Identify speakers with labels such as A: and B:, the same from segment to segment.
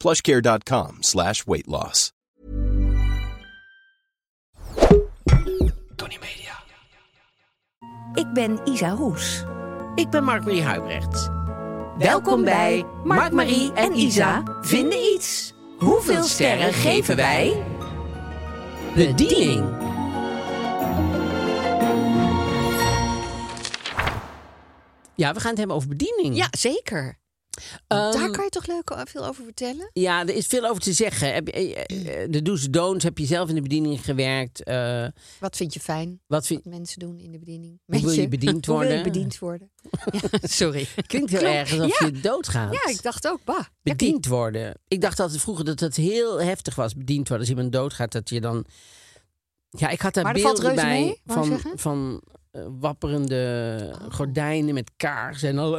A: plushcare.com slash weight loss.
B: Tony Media.
C: Ik ben Isa Roes.
B: Ik ben Mark-Marie Huibrecht. Welkom bij Mark-Marie en Isa vinden iets. Hoeveel sterren geven wij? Bediening. Ja, we gaan het hebben over bediening.
D: Ja, zeker.
B: Ehm,
D: Daar kan je toch leuk o- veel over vertellen?
B: ja er is veel over te zeggen. Heb je- eh, eh, De do's en don'ts, heb je zelf in de bediening gewerkt? eh,
D: Wat vind je fijn?
B: wat vind
D: Wat mensen doen in de bediening?
B: Hoe wil je
D: Mensen-
B: bediend
D: Hoe wil je
B: worden?
D: bediend worden? Ja, sorry.
B: Klinkt heel
D: Klonk-
B: erg alsof
D: ja.
B: je doodgaat.
D: Ja, ik dacht ook, bah.
B: Bediend worden. Ik dacht altijd vroeger dat dat heel heftig was. Bediend worden. Als iemand doodgaat, dat je dan... Ja, ik had daar
D: Maar dat
B: beelden
D: valt reuze
B: bij
D: mee, wou je
B: van,
D: zeggen? Oh.
B: van eh, wapperende gordijnen met kaars en, al-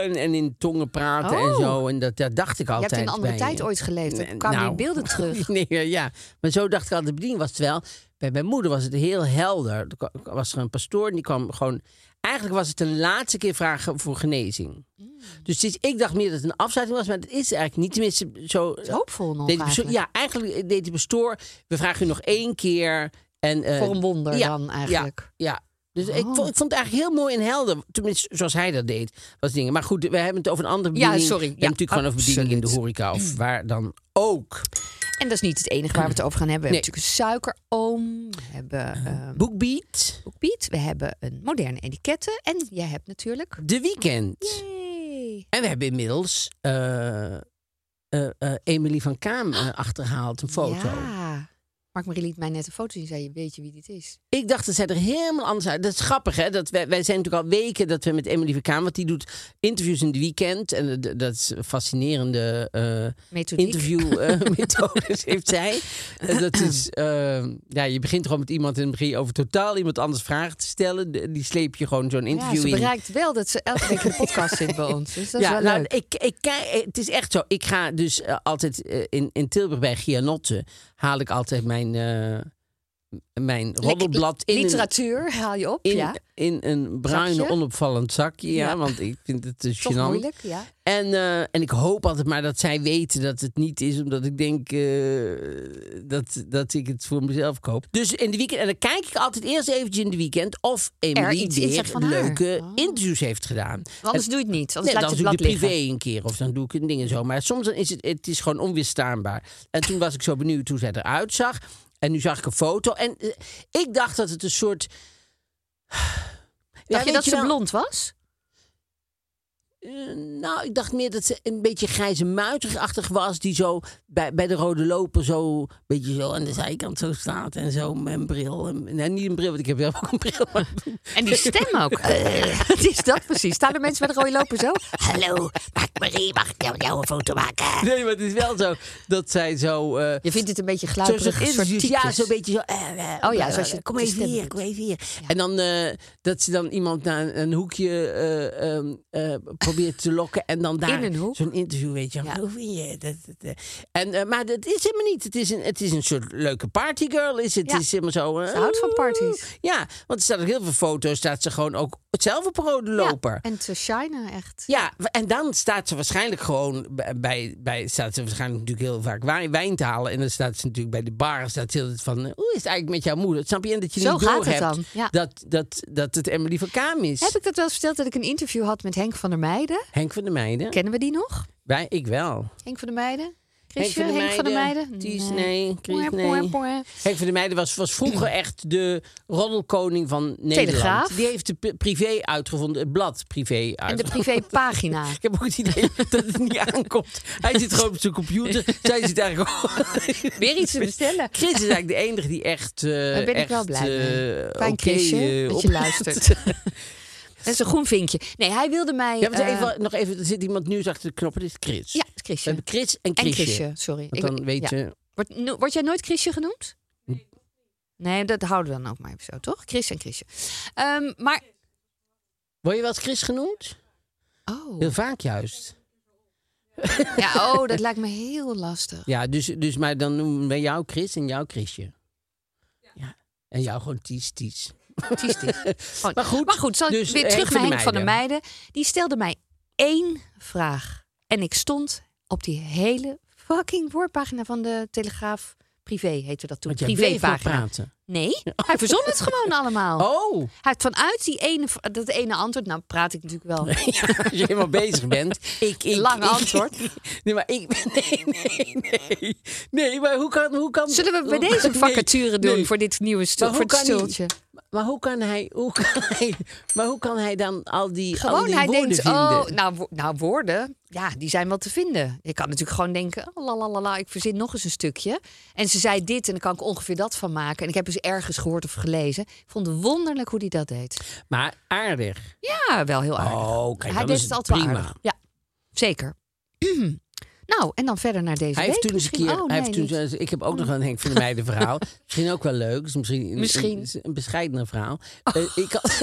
B: en, en in tongen praten en
D: Oh.
B: zo. En dat, dat dacht ik
D: Je
B: altijd
D: hebt in een andere
B: bij-
D: tijd ooit geleefd.
B: Nee,
D: Er kwamen
B: nou.
D: die beelden terug.
B: Nee, ja, ja, maar zo dacht ik altijd. Bediening was het wel. Bij mijn moeder was het heel helder. Er kwa- was er een pastoor en die kwam gewoon. Eigenlijk was het de laatste keer vragen voor genezing.
D: Mm.
B: Dus het is- ik dacht meer dat het een afsluiting was, maar dat is het eigenlijk niet. Tenminste, zo.
D: is hoopvol nog
B: deed die pastoor-
D: eigenlijk.
B: Ja, eigenlijk deed de pastoor. We vragen u nog één keer. En, eh,
D: Voor een Oh. wonder
B: ja,
D: dan eigenlijk.
B: Ja. ja. Dus ik, vond, ik vond het eigenlijk heel mooi en helder. Tenminste, zoals hij dat deed. Was dingen. Maar goed, we hebben het over een andere bediening.
D: sorry.
B: We hebben
D: Ja,
B: het natuurlijk gewoon over bediening in de
D: absoluut.
B: horeca of waar dan ook.
D: En dat is niet het enige waar we het over gaan hebben. We
B: Nee.
D: hebben natuurlijk een suikeroom. We hebben ehm
B: Boekbeat.
D: boekbiet. We hebben een moderne etikette. En jij hebt natuurlijk...
B: De Weekend.
D: Yay.
B: En we hebben inmiddels eh, eh, eh, Emily van Kaam eh, achterhaald, een foto.
D: Ja. Mark-Marie liet mij net een foto zien. Zei je, weet je wie dit is?
B: Ik dacht dat zij er helemaal anders uit. Dat is grappig, hè? Dat wij, wij zijn natuurlijk al weken dat we met Emily van Kaam... want die doet interviews in het weekend. En eh, d- dat is een fascinerende eh
D: Methodiek.
B: interviewmethodes heeft zij. Eh, dat is, eh, ja, je begint gewoon met iemand en dan begin je over totaal iemand anders vragen te stellen. De- Die sleep je gewoon zo'n interview
D: ja, ze
B: in.
D: bereikt wel dat ze elke week in de podcast zit bij ons. Dus dat is wel
B: nou,
D: leuk.
B: Ik, ik, kijk, het is echt zo. Ik ga dus eh, altijd eh, in, in Tilburg bij Gianotte haal ik altijd mijn, eh mijn roddelblad in. een-
D: Literatuur haal je op,
B: in,
D: ja.
B: in een bruine,
D: Zakje?
B: onopvallend zakje. Ja,
D: Ja.
B: want ik vind het dus
D: Toch
B: gênant.
D: moeilijk, ja.
B: En, eh, en ik hoop altijd maar dat zij weten dat het niet is, omdat ik denk eh, dat, dat ik het voor mezelf koop. Dus in de weekend, en dan kijk ik altijd eerst eventjes in de weekend of Emily
D: iets- iets
B: weer
D: van haar.
B: leuke
D: Oh.
B: interviews heeft gedaan.
D: Anders
B: En-
D: doe je het niet. Anders
B: Nee,
D: laat
B: dan
D: je
B: doe
D: het
B: ik de
D: blad
B: privé
D: liggen.
B: een keer of dan doe ik een ding en zo. Maar soms dan is het, het is gewoon onweerstaanbaar. En toen was ik zo benieuwd hoe zij eruit zag. En nu zag ik een foto. En eh, ik dacht dat het een soort... Ja,
D: Dacht je
B: weet
D: dat ze
B: wel-
D: blond was?
B: eh, nou, ik dacht meer dat ze een beetje grijze muiterachtig was. Die zo bij, bij de rode loper zo een beetje zo aan de zijkant zo staat. En zo met een bril. En, nee, niet een bril, want ik heb zelf ook een bril. maar-
D: En die stem ook. Eh, Wat is dat precies? Staan er mensen met een rode loper zo? Hallo, Mark Marie, mag ik jou, jou een foto maken?
B: nee, maar het is wel zo dat zij zo... eh,
D: Je vindt het een beetje
B: Zo'n
D: gluiperig,
B: soort
D: een soort
B: interviews, ja,
D: typjes.
B: zo'n beetje zo. eh, eh,
D: Oh ja, zoals je
B: kom
D: de
B: even
D: stem
B: hier,
D: doet.
B: kom even hier. En dan eh, dat ze dan iemand naar een, een hoekje eh, ehm, eh, probeert te lokken en dan daar
D: In een hoek.
B: zo'n interview, weet je, wel.
D: Ja.
B: hoe vind je dat? dat, dat? En eh, maar dat is helemaal niet. Het is een, het is een soort leuke partygirl. Is het?
D: Ja.
B: Is helemaal zo. eh,
D: Ze houdt van parties.
B: Ja, want er staan ook heel veel foto's. Staat ze gewoon ook zelf op een rode loper.
D: Ja, en te shinen echt.
B: Ja, w- en dan staat ze waarschijnlijk gewoon bij- bij, bij staat ze waarschijnlijk natuurlijk heel vaak wijn, wijn te halen. En dan staat ze natuurlijk bij de bar staat ze altijd van, eh, hoe is het eigenlijk met jouw moeder? Snap je? En dat je
D: Zo
B: niet
D: gaat het
B: doorhebt
D: dan, ja.
B: dat, dat, dat het Emily van Kaam is.
D: Heb ik dat wel eens verteld dat ik een interview had met Henk van der Meijden?
B: Henk van der Meijden?
D: Kennen we die nog?
B: Wij, ik wel.
D: Henk van der Meijden? Chrisje, Henk van der Meijden?
B: Ties,
D: Nee.
B: nee. Chris,
D: Poeh,
B: nee.
D: poeh, poeh.
B: Henk van der Meijden was, was vroeger echt de roddelkoning van Nederland.
D: Telegraaf.
B: Die heeft de p- privé uitgevonden, het blad privé
D: En de
B: uitgevonden.
D: privépagina.
B: Ik heb ook het idee dat het niet aankomt. Hij zit gewoon op zijn computer. Zij zit eigenlijk gewoon-
D: Weer iets te bestellen.
B: Chris is eigenlijk de enige die echt. eh
D: Daar ben ik wel
B: echt,
D: blij mee.
B: eh,
D: Fijn
B: oké,
D: Chrisje,
B: eh,
D: dat
B: op-
D: je luistert. dat is een groen vinkje. Nee, hij wilde mij...
B: Ja, want
D: eh,
B: even, nog even, er zit iemand nieuws achter de knoppen. Dit is Chris.
D: ja,
B: We
D: Chrisje.
B: hebben Chris en
D: En
B: Chrisje.
D: Chrisje, sorry. Ik-
B: Want dan weet
D: ja.
B: je...
D: Word, no- word jij nooit Chrisje genoemd? Nee, dat houden we dan ook maar even zo, toch? Chris en Chrisje. Ehm, maar...
B: Word je wel eens Chris genoemd?
D: Oh.
B: Heel vaak juist.
D: Ja, oh, dat lijkt me heel lastig.
B: Ja, dus, dus maar dan noemen wij jou Chris en jou Chrisje. Ja. En jou gewoon Ties, Ties.
D: Artistisch. Gewoon-
B: Maar goed,
D: Oh, maar goed zal ik
B: dus
D: weer
B: Henk
D: terug
B: van
D: naar
B: der
D: Henk van der Meijden. Die stelde mij één vraag. En ik stond op die hele fucking voorpagina van de Telegraaf. Privé heette dat toen.
B: Want jij bleef maar
D: Privépagina.
B: praten.
D: Nee, hij verzon het gewoon allemaal.
B: Oh,
D: Hij had vanuit die ene, v- dat ene antwoord, nou praat ik natuurlijk wel.
B: ja, als je helemaal bezig bent. Ik, ik,
D: Lang
B: ik-
D: antwoord.
B: Nee, maar ik... Nee, nee, nee. Nee, maar hoe kan... Hoe kan
D: Zullen we bij
B: hoe-
D: deze
B: Oh. nee,
D: vacature doen
B: nee.
D: voor dit nieuwe
B: Maar
D: stul,
B: hoe
D: voor het
B: kan hij-
D: stultje?
B: Maar hoe kan hij... Hoe kan hij maar hoe kan hij dan al die al
D: Gewoon,
B: Oh, die
D: hij
B: woorden
D: denkt,
B: vinden?
D: oh, nou, wo- nou woorden, ja, die zijn wel te vinden. Je kan natuurlijk gewoon denken, oh, la la la la, ik verzin nog eens een stukje. En ze zei dit en dan kan ik ongeveer dat van maken. En ik heb eens ergens gehoord of gelezen. Ik vond het wonderlijk hoe hij dat deed.
B: Maar aardig.
D: Ja, wel heel aardig.
B: Oh, kijk,
D: hij
B: dan
D: deed
B: is
D: het
B: het
D: altijd wel
B: prima.
D: aardig. Ja, zeker. nou, en dan verder naar deze
B: Hij
D: week
B: heeft toen eens een
D: misschien.
B: keer.
D: Oh,
B: hij
D: nee,
B: heeft toen,
D: niet.
B: eens- ik heb ook nog een Henk van der Meijden verhaal. misschien ook wel leuk. is misschien een,
D: Misschien. Oh.
B: Een, een bescheidener verhaal. Eh, ik had-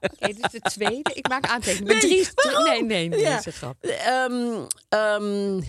D: Oké, dit is de tweede. Ik maak aantekeningen. Nee, drie,
B: waarom?
D: nee, nee, nee,
B: Ja.
D: dat is een grap.
B: Ehm, ehm,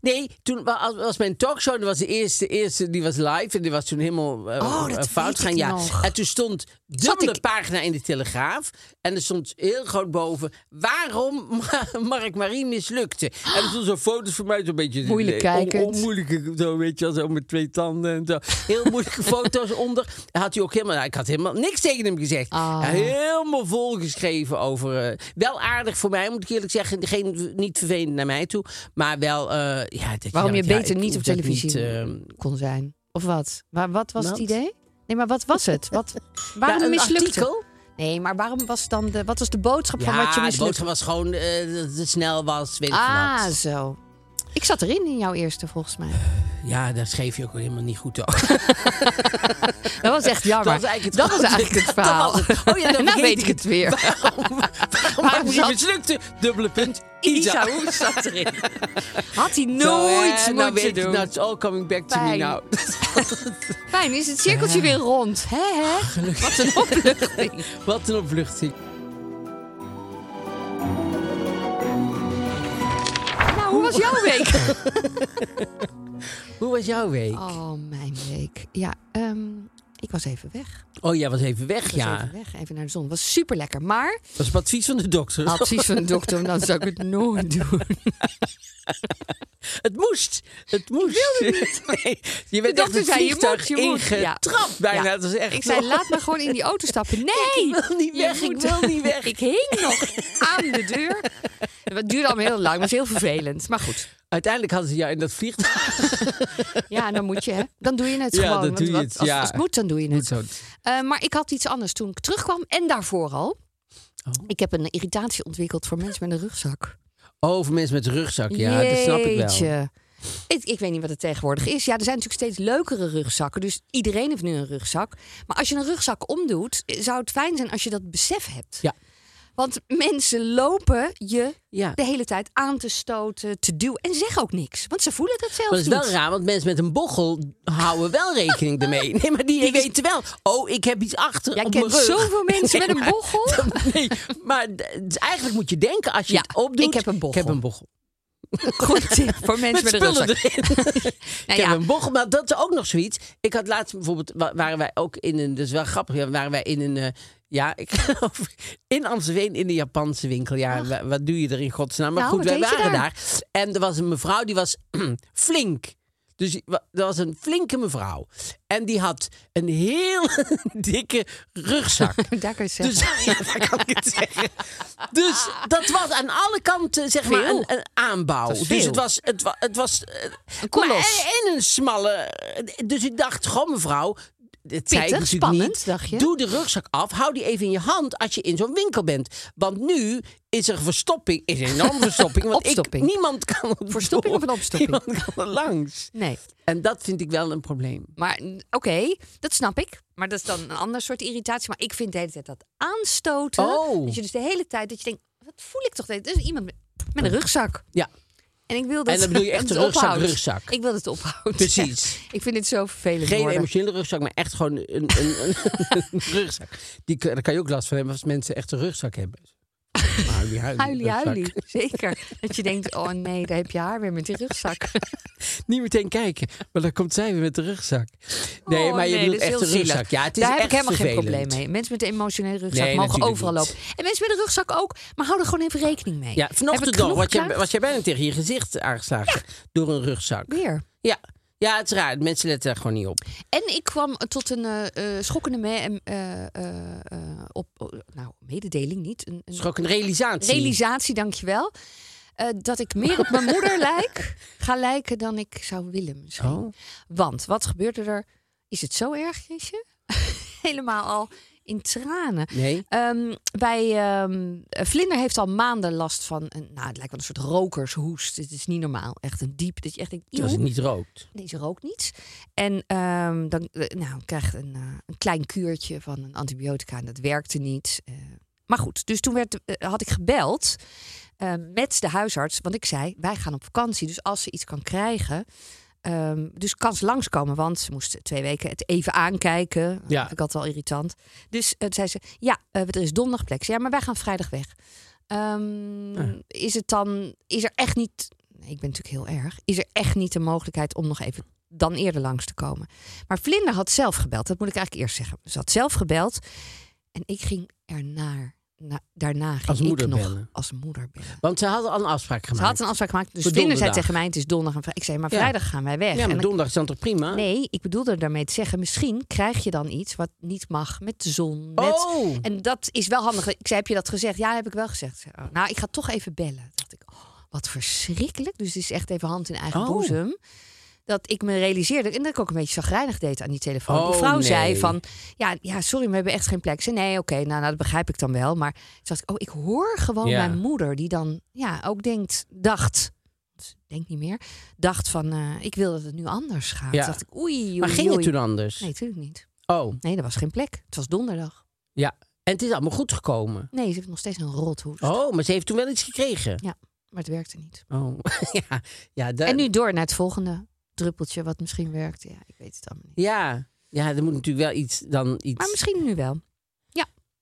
B: nee, toen wa- was mijn talkshow. Dat was de eerste, eerste, die was live. En die was toen helemaal eh,
D: Oh, dat
B: eh,
D: weet
B: fout
D: ik
B: gaan. Ja.
D: nog.
B: En toen stond dubbele
D: ik-
B: pagina in de Telegraaf. En er stond heel groot boven. Waarom Mark Marie mislukte. En er stond zo'n foto's van mij. Zo'n beetje
D: Moeilijk
B: eh, on-
D: kijkend.
B: on- moeilijke, zo weet je wel, zo met twee tanden en zo. Heel moeilijke foto's onder. Had hij ook helemaal, nou, ik had helemaal niks tegen hem gezegd.
D: Ah.
B: Helemaal volgeschreven over, eh, wel aardig voor mij, moet ik eerlijk zeggen. Geen, niet vervelend naar mij toe, maar wel... eh, ja, dat
D: Waarom je
B: denkt, ja,
D: beter
B: ik
D: niet
B: hoef
D: op
B: dat
D: televisie
B: niet, eh,
D: kon zijn. Of wat? Maar wat was
B: Wat?
D: het idee? Nee, maar wat was het? Wat, waarom
B: Ja, een
D: mislukte?
B: artikel?
D: Nee, maar waarom was dan de, wat was de boodschap van
B: ja,
D: wat je
B: de boodschap
D: mislukte?
B: was gewoon eh, dat het snel was, weet ik
D: Ah,
B: wat.
D: zo. Ik zat erin in jouw eerste, volgens mij.
B: Ja, daar schreef je ook helemaal niet goed over.
D: Dat was echt jammer.
B: was eigenlijk het
D: dat was
B: grote-
D: eigenlijk
B: dat
D: het verhaal.
B: was het. Oh ja, dan
D: nou
B: vergeet
D: weet
B: ik
D: ik het weer.
B: Waarom
D: Waarom
B: waarom je
D: zat-
B: mislukte? Dubbele punt,
D: Isa
B: Isa.
D: Hoek zat erin. Had hij
B: Zo,
D: nooit
B: eh,
D: moeten
B: nou weet ik,
D: doen.
B: Nou, it's all coming back to
D: Fijn.
B: me now.
D: Fijn, is het cirkeltje weer rond. Hè, hè?
B: Ah,
D: Wat een opluchting.
B: Wat een opluchting.
D: Nou, hoe was jouw week?
B: Hoe was jouw week?
D: Oh, mijn week. Ja, ehm, ik was even weg.
B: Oh, jij was even weg,
D: Ik was
B: ja.
D: even weg, even naar de zon. Was super lekker. Maar
B: Dat is op advies van de dokter.
D: advies van de dokter, dan zou ik het nooit doen.
B: Het moest. Het moest. Nee, je bent
D: de
B: echt
D: dokter
B: het
D: zei, je
B: vliegtuig
D: moet, je moet. Ja.
B: ingetrapt bijna.
D: Ja.
B: Dat is echt
D: Ik zei,
B: nog-
D: laat maar gewoon in die auto stappen. Nee,
B: Ik wil niet
D: je
B: weg, ik
D: moet-
B: wil niet weg.
D: Ik hing nog aan de deur. Het duurde allemaal heel lang, maar het was heel vervelend. Maar goed,
B: Uiteindelijk hadden ze jou in dat vliegtuig.
D: ja, dan moet je, hè. Dan doe je het
B: Ja,
D: gewoon.
B: dan
D: want
B: doe je
D: wat-
B: het,
D: Als,
B: ja.
D: als het moet, dan doe je het.
B: Moet zo.
D: Eh, maar ik had iets anders toen ik terugkwam en daarvoor al.
B: Oh.
D: Ik heb een irritatie ontwikkeld voor mensen met een rugzak.
B: Over mensen met een rugzak. Ja, dat snap ik wel.
D: Jeetje. Ik, ik weet niet wat het tegenwoordig is. Ja, er zijn natuurlijk steeds leukere rugzakken. Dus iedereen heeft nu een rugzak. Maar als je een rugzak omdoet, eh, zou het fijn zijn als je dat besef hebt.
B: Ja.
D: Want mensen lopen je
B: Ja.
D: de hele tijd aan te stoten, te duwen. En zeggen ook niks. Want ze voelen dat zelfs
B: Maar dat is wel
D: niet.
B: raar, want mensen met een bochel houden wel rekening ermee. Nee, maar die, weten wel. Oh, ik heb iets achter
D: Jij
B: op
D: kent
B: mijn rug.
D: zoveel mensen met een
B: maar-
D: bochel.
B: Nee, maar d- eigenlijk moet je denken als je
D: Ja,
B: het opdoet.
D: ik heb een bochel.
B: Ik heb een bochel.
D: Goed tip voor mensen met,
B: Met
D: een rugzak.
B: spullen erin.
D: Nou
B: ik
D: ja.
B: heb een bochel, maar dat is ook nog zoiets. Ik had laatst bijvoorbeeld, wa- waren wij ook in een, dat is wel grappig, ja, waren wij in een, eh, ja, ik geloof in Amstelveen, in de Japanse winkel. Ja, wa- wat doe je er in godsnaam? Maar
D: Nou,
B: goed,
D: wat
B: wij
D: deed je
B: waren daar?
D: daar?
B: En er was een mevrouw die was flink. Dus wa- dat was een flinke mevrouw. En die had een heel dikke rugzak.
D: Daar kun je het
B: Dus, ja, daar kan ik het zeggen. Dus dat was aan alle kanten zeg maar,
D: Veel.
B: een, een aanbouw.
D: Dat is
B: Dus
D: veel.
B: het was. Het wa, het was eh,
D: kolos.
B: maar En, en een smalle. Dus ik dacht, goh mevrouw. Het zei ik
D: Pittig,
B: natuurlijk
D: spannend,
B: niet.
D: dacht je?
B: Doe de rugzak af. Hou die even in je hand als je in zo'n winkel bent. Want nu is er verstopping. Is er enorm verstopping. Want
D: Opstopping.
B: Ik, niemand kan er
D: Verstopping
B: door.
D: of een opstopping?
B: Niemand kan er langs.
D: Nee.
B: En dat vind ik wel een probleem.
D: Maar n- oké, dat snap ik. Maar dat is dan een ander soort irritatie. Maar ik vind de hele tijd dat aanstoten.
B: Oh.
D: Dat je dus de hele tijd dat je denkt, wat voel ik toch? de- Er is iemand met- met een rugzak.
B: Ja.
D: En ik wil dat
B: En dan bedoel je echt
D: het
B: een rugzak,
D: ophoudt.
B: rugzak.
D: Ik wil dat het ophoudt.
B: Precies.
D: Ja. Ik vind het zo vervelend
B: Geen
D: worden.
B: emotionele rugzak, maar echt gewoon een, een, een, een rugzak. Die, kun- daar kan je ook last van hebben als mensen echt een rugzak hebben. Huilie, huilie.
D: Huilie,
B: rugzak.
D: huilie. Zeker. Dat je denkt, oh nee, daar heb je haar weer met die rugzak.
B: Niet meteen kijken, maar dan komt zij weer met de rugzak. Nee,
D: Oh,
B: maar je
D: nee,
B: bedoelt
D: dat is
B: echt
D: heel
B: een
D: zielig.
B: rugzak. Ja, het is
D: Daar
B: echt
D: heb ik helemaal
B: vervelend.
D: geen probleem mee. Mensen met een emotionele rugzak
B: Nee,
D: mogen
B: natuurlijk
D: overal
B: niet.
D: lopen. En mensen met een rugzak ook, maar hou er gewoon even rekening mee.
B: Ja,
D: Heb
B: vanochtend
D: ik
B: nog,
D: genoeg
B: was jij,
D: klaar?
B: was jij bijna tegen je gezicht aangeslagen door een rugzak.
D: Weer.
B: Ja. ja, het is raar. Mensen letten daar gewoon niet op.
D: En ik kwam tot een eh, eh, schokkende me- eh, eh, eh, op, oh, nou, mededeling niet. Een, een
B: Het is ook een realisatie.
D: realisatie, dankjewel. Eh dat ik meer op mijn moeder lijk, ga lijken dan ik zou willen misschien.
B: Oh.
D: Want wat gebeurde er? Is het zo erg, Chrisje? Helemaal al in tranen.
B: Nee.
D: Ehm, bij, ehm, Vlinder heeft al maanden last van een, nou, het lijkt wel een soort rokershoest. Het is niet normaal. Echt een diep, dat je echt denkt,
B: Als het
D: "Eeuw."
B: niet rookt.
D: Deze rookt niets. En ehm, dan eh, nou, krijgt een, eh, een klein kuurtje van een antibiotica en dat werkte niet. Eh, maar goed, dus toen werd, eh, had ik gebeld eh, met de huisarts. Want ik zei, wij gaan op vakantie. Dus als ze iets kan krijgen, ehm, dus kan ze langskomen. Want ze moest twee weken het even aankijken.
B: Ja.
D: Ja. Vind ik altijd wel irritant. Dus eh, toen zei ze, ja, eh, er is donderdag plek. Ik zei, Ja, maar wij gaan vrijdag weg. Ehm, Is het dan, is er echt niet, nee, ik ben natuurlijk heel erg, is er echt niet de mogelijkheid om nog even dan eerder langs te komen? Maar Vlinder had zelf gebeld, dat moet ik eigenlijk eerst zeggen. Ze had zelf gebeld en ik ging ernaar, na, daarna ging
B: Als
D: ik
B: moeder
D: nog
B: bellen.
D: als moeder bellen.
B: Want ze hadden al een afspraak
D: Ze
B: gemaakt.
D: had een afspraak gemaakt, dus
B: Voor
D: Vlinder zei
B: donderdag.
D: tegen mij, het is donderdag en vrij- Ik zei, maar
B: Ja.
D: vrijdag gaan wij weg.
B: Ja,
D: En
B: maar
D: dan-
B: donderdag is dan toch prima?
D: Nee, ik bedoelde daarmee te zeggen, misschien krijg je dan iets wat niet mag met de zon. Met...
B: Oh.
D: En dat is wel handig. Ik zei, heb je dat gezegd? Ja, heb ik wel gezegd. Ik zei, oh, nou, ik ga toch even bellen. Dacht ik, oh, wat verschrikkelijk. Dus het is echt even hand in eigen
B: Oh.
D: boezem. Dat ik me realiseerde en dat ik ook een beetje zagrijnig deed aan die telefoon.
B: Oh,
D: die vrouw zei
B: nee.
D: van, ja, ja, sorry, maar we hebben echt geen plek. Ik zei, nee, oké, nou, nou, dat begrijp ik dan wel. Maar toen dacht ik, oh, ik hoor gewoon
B: Ja.
D: mijn moeder die dan ja, ook denkt, dacht... want ze denkt niet meer, dacht van, eh, ik wil dat het nu anders gaat.
B: Ja.
D: Toen dacht ik, oei, oei,
B: maar ging
D: oei.
B: het toen anders?
D: Nee, natuurlijk niet.
B: Oh,
D: Nee, er was geen plek. Het was donderdag.
B: ja. En het is allemaal goed gekomen.
D: Nee, ze heeft nog steeds een rothoest.
B: Oh, maar ze heeft toen wel iets gekregen.
D: Ja, maar het werkte niet.
B: Oh, ja. ja dat-
D: En nu door naar het volgende druppeltje wat misschien werkt. Ja, ik weet het allemaal niet.
B: Ja. ja, er moet natuurlijk wel iets dan iets...
D: Maar misschien nu wel.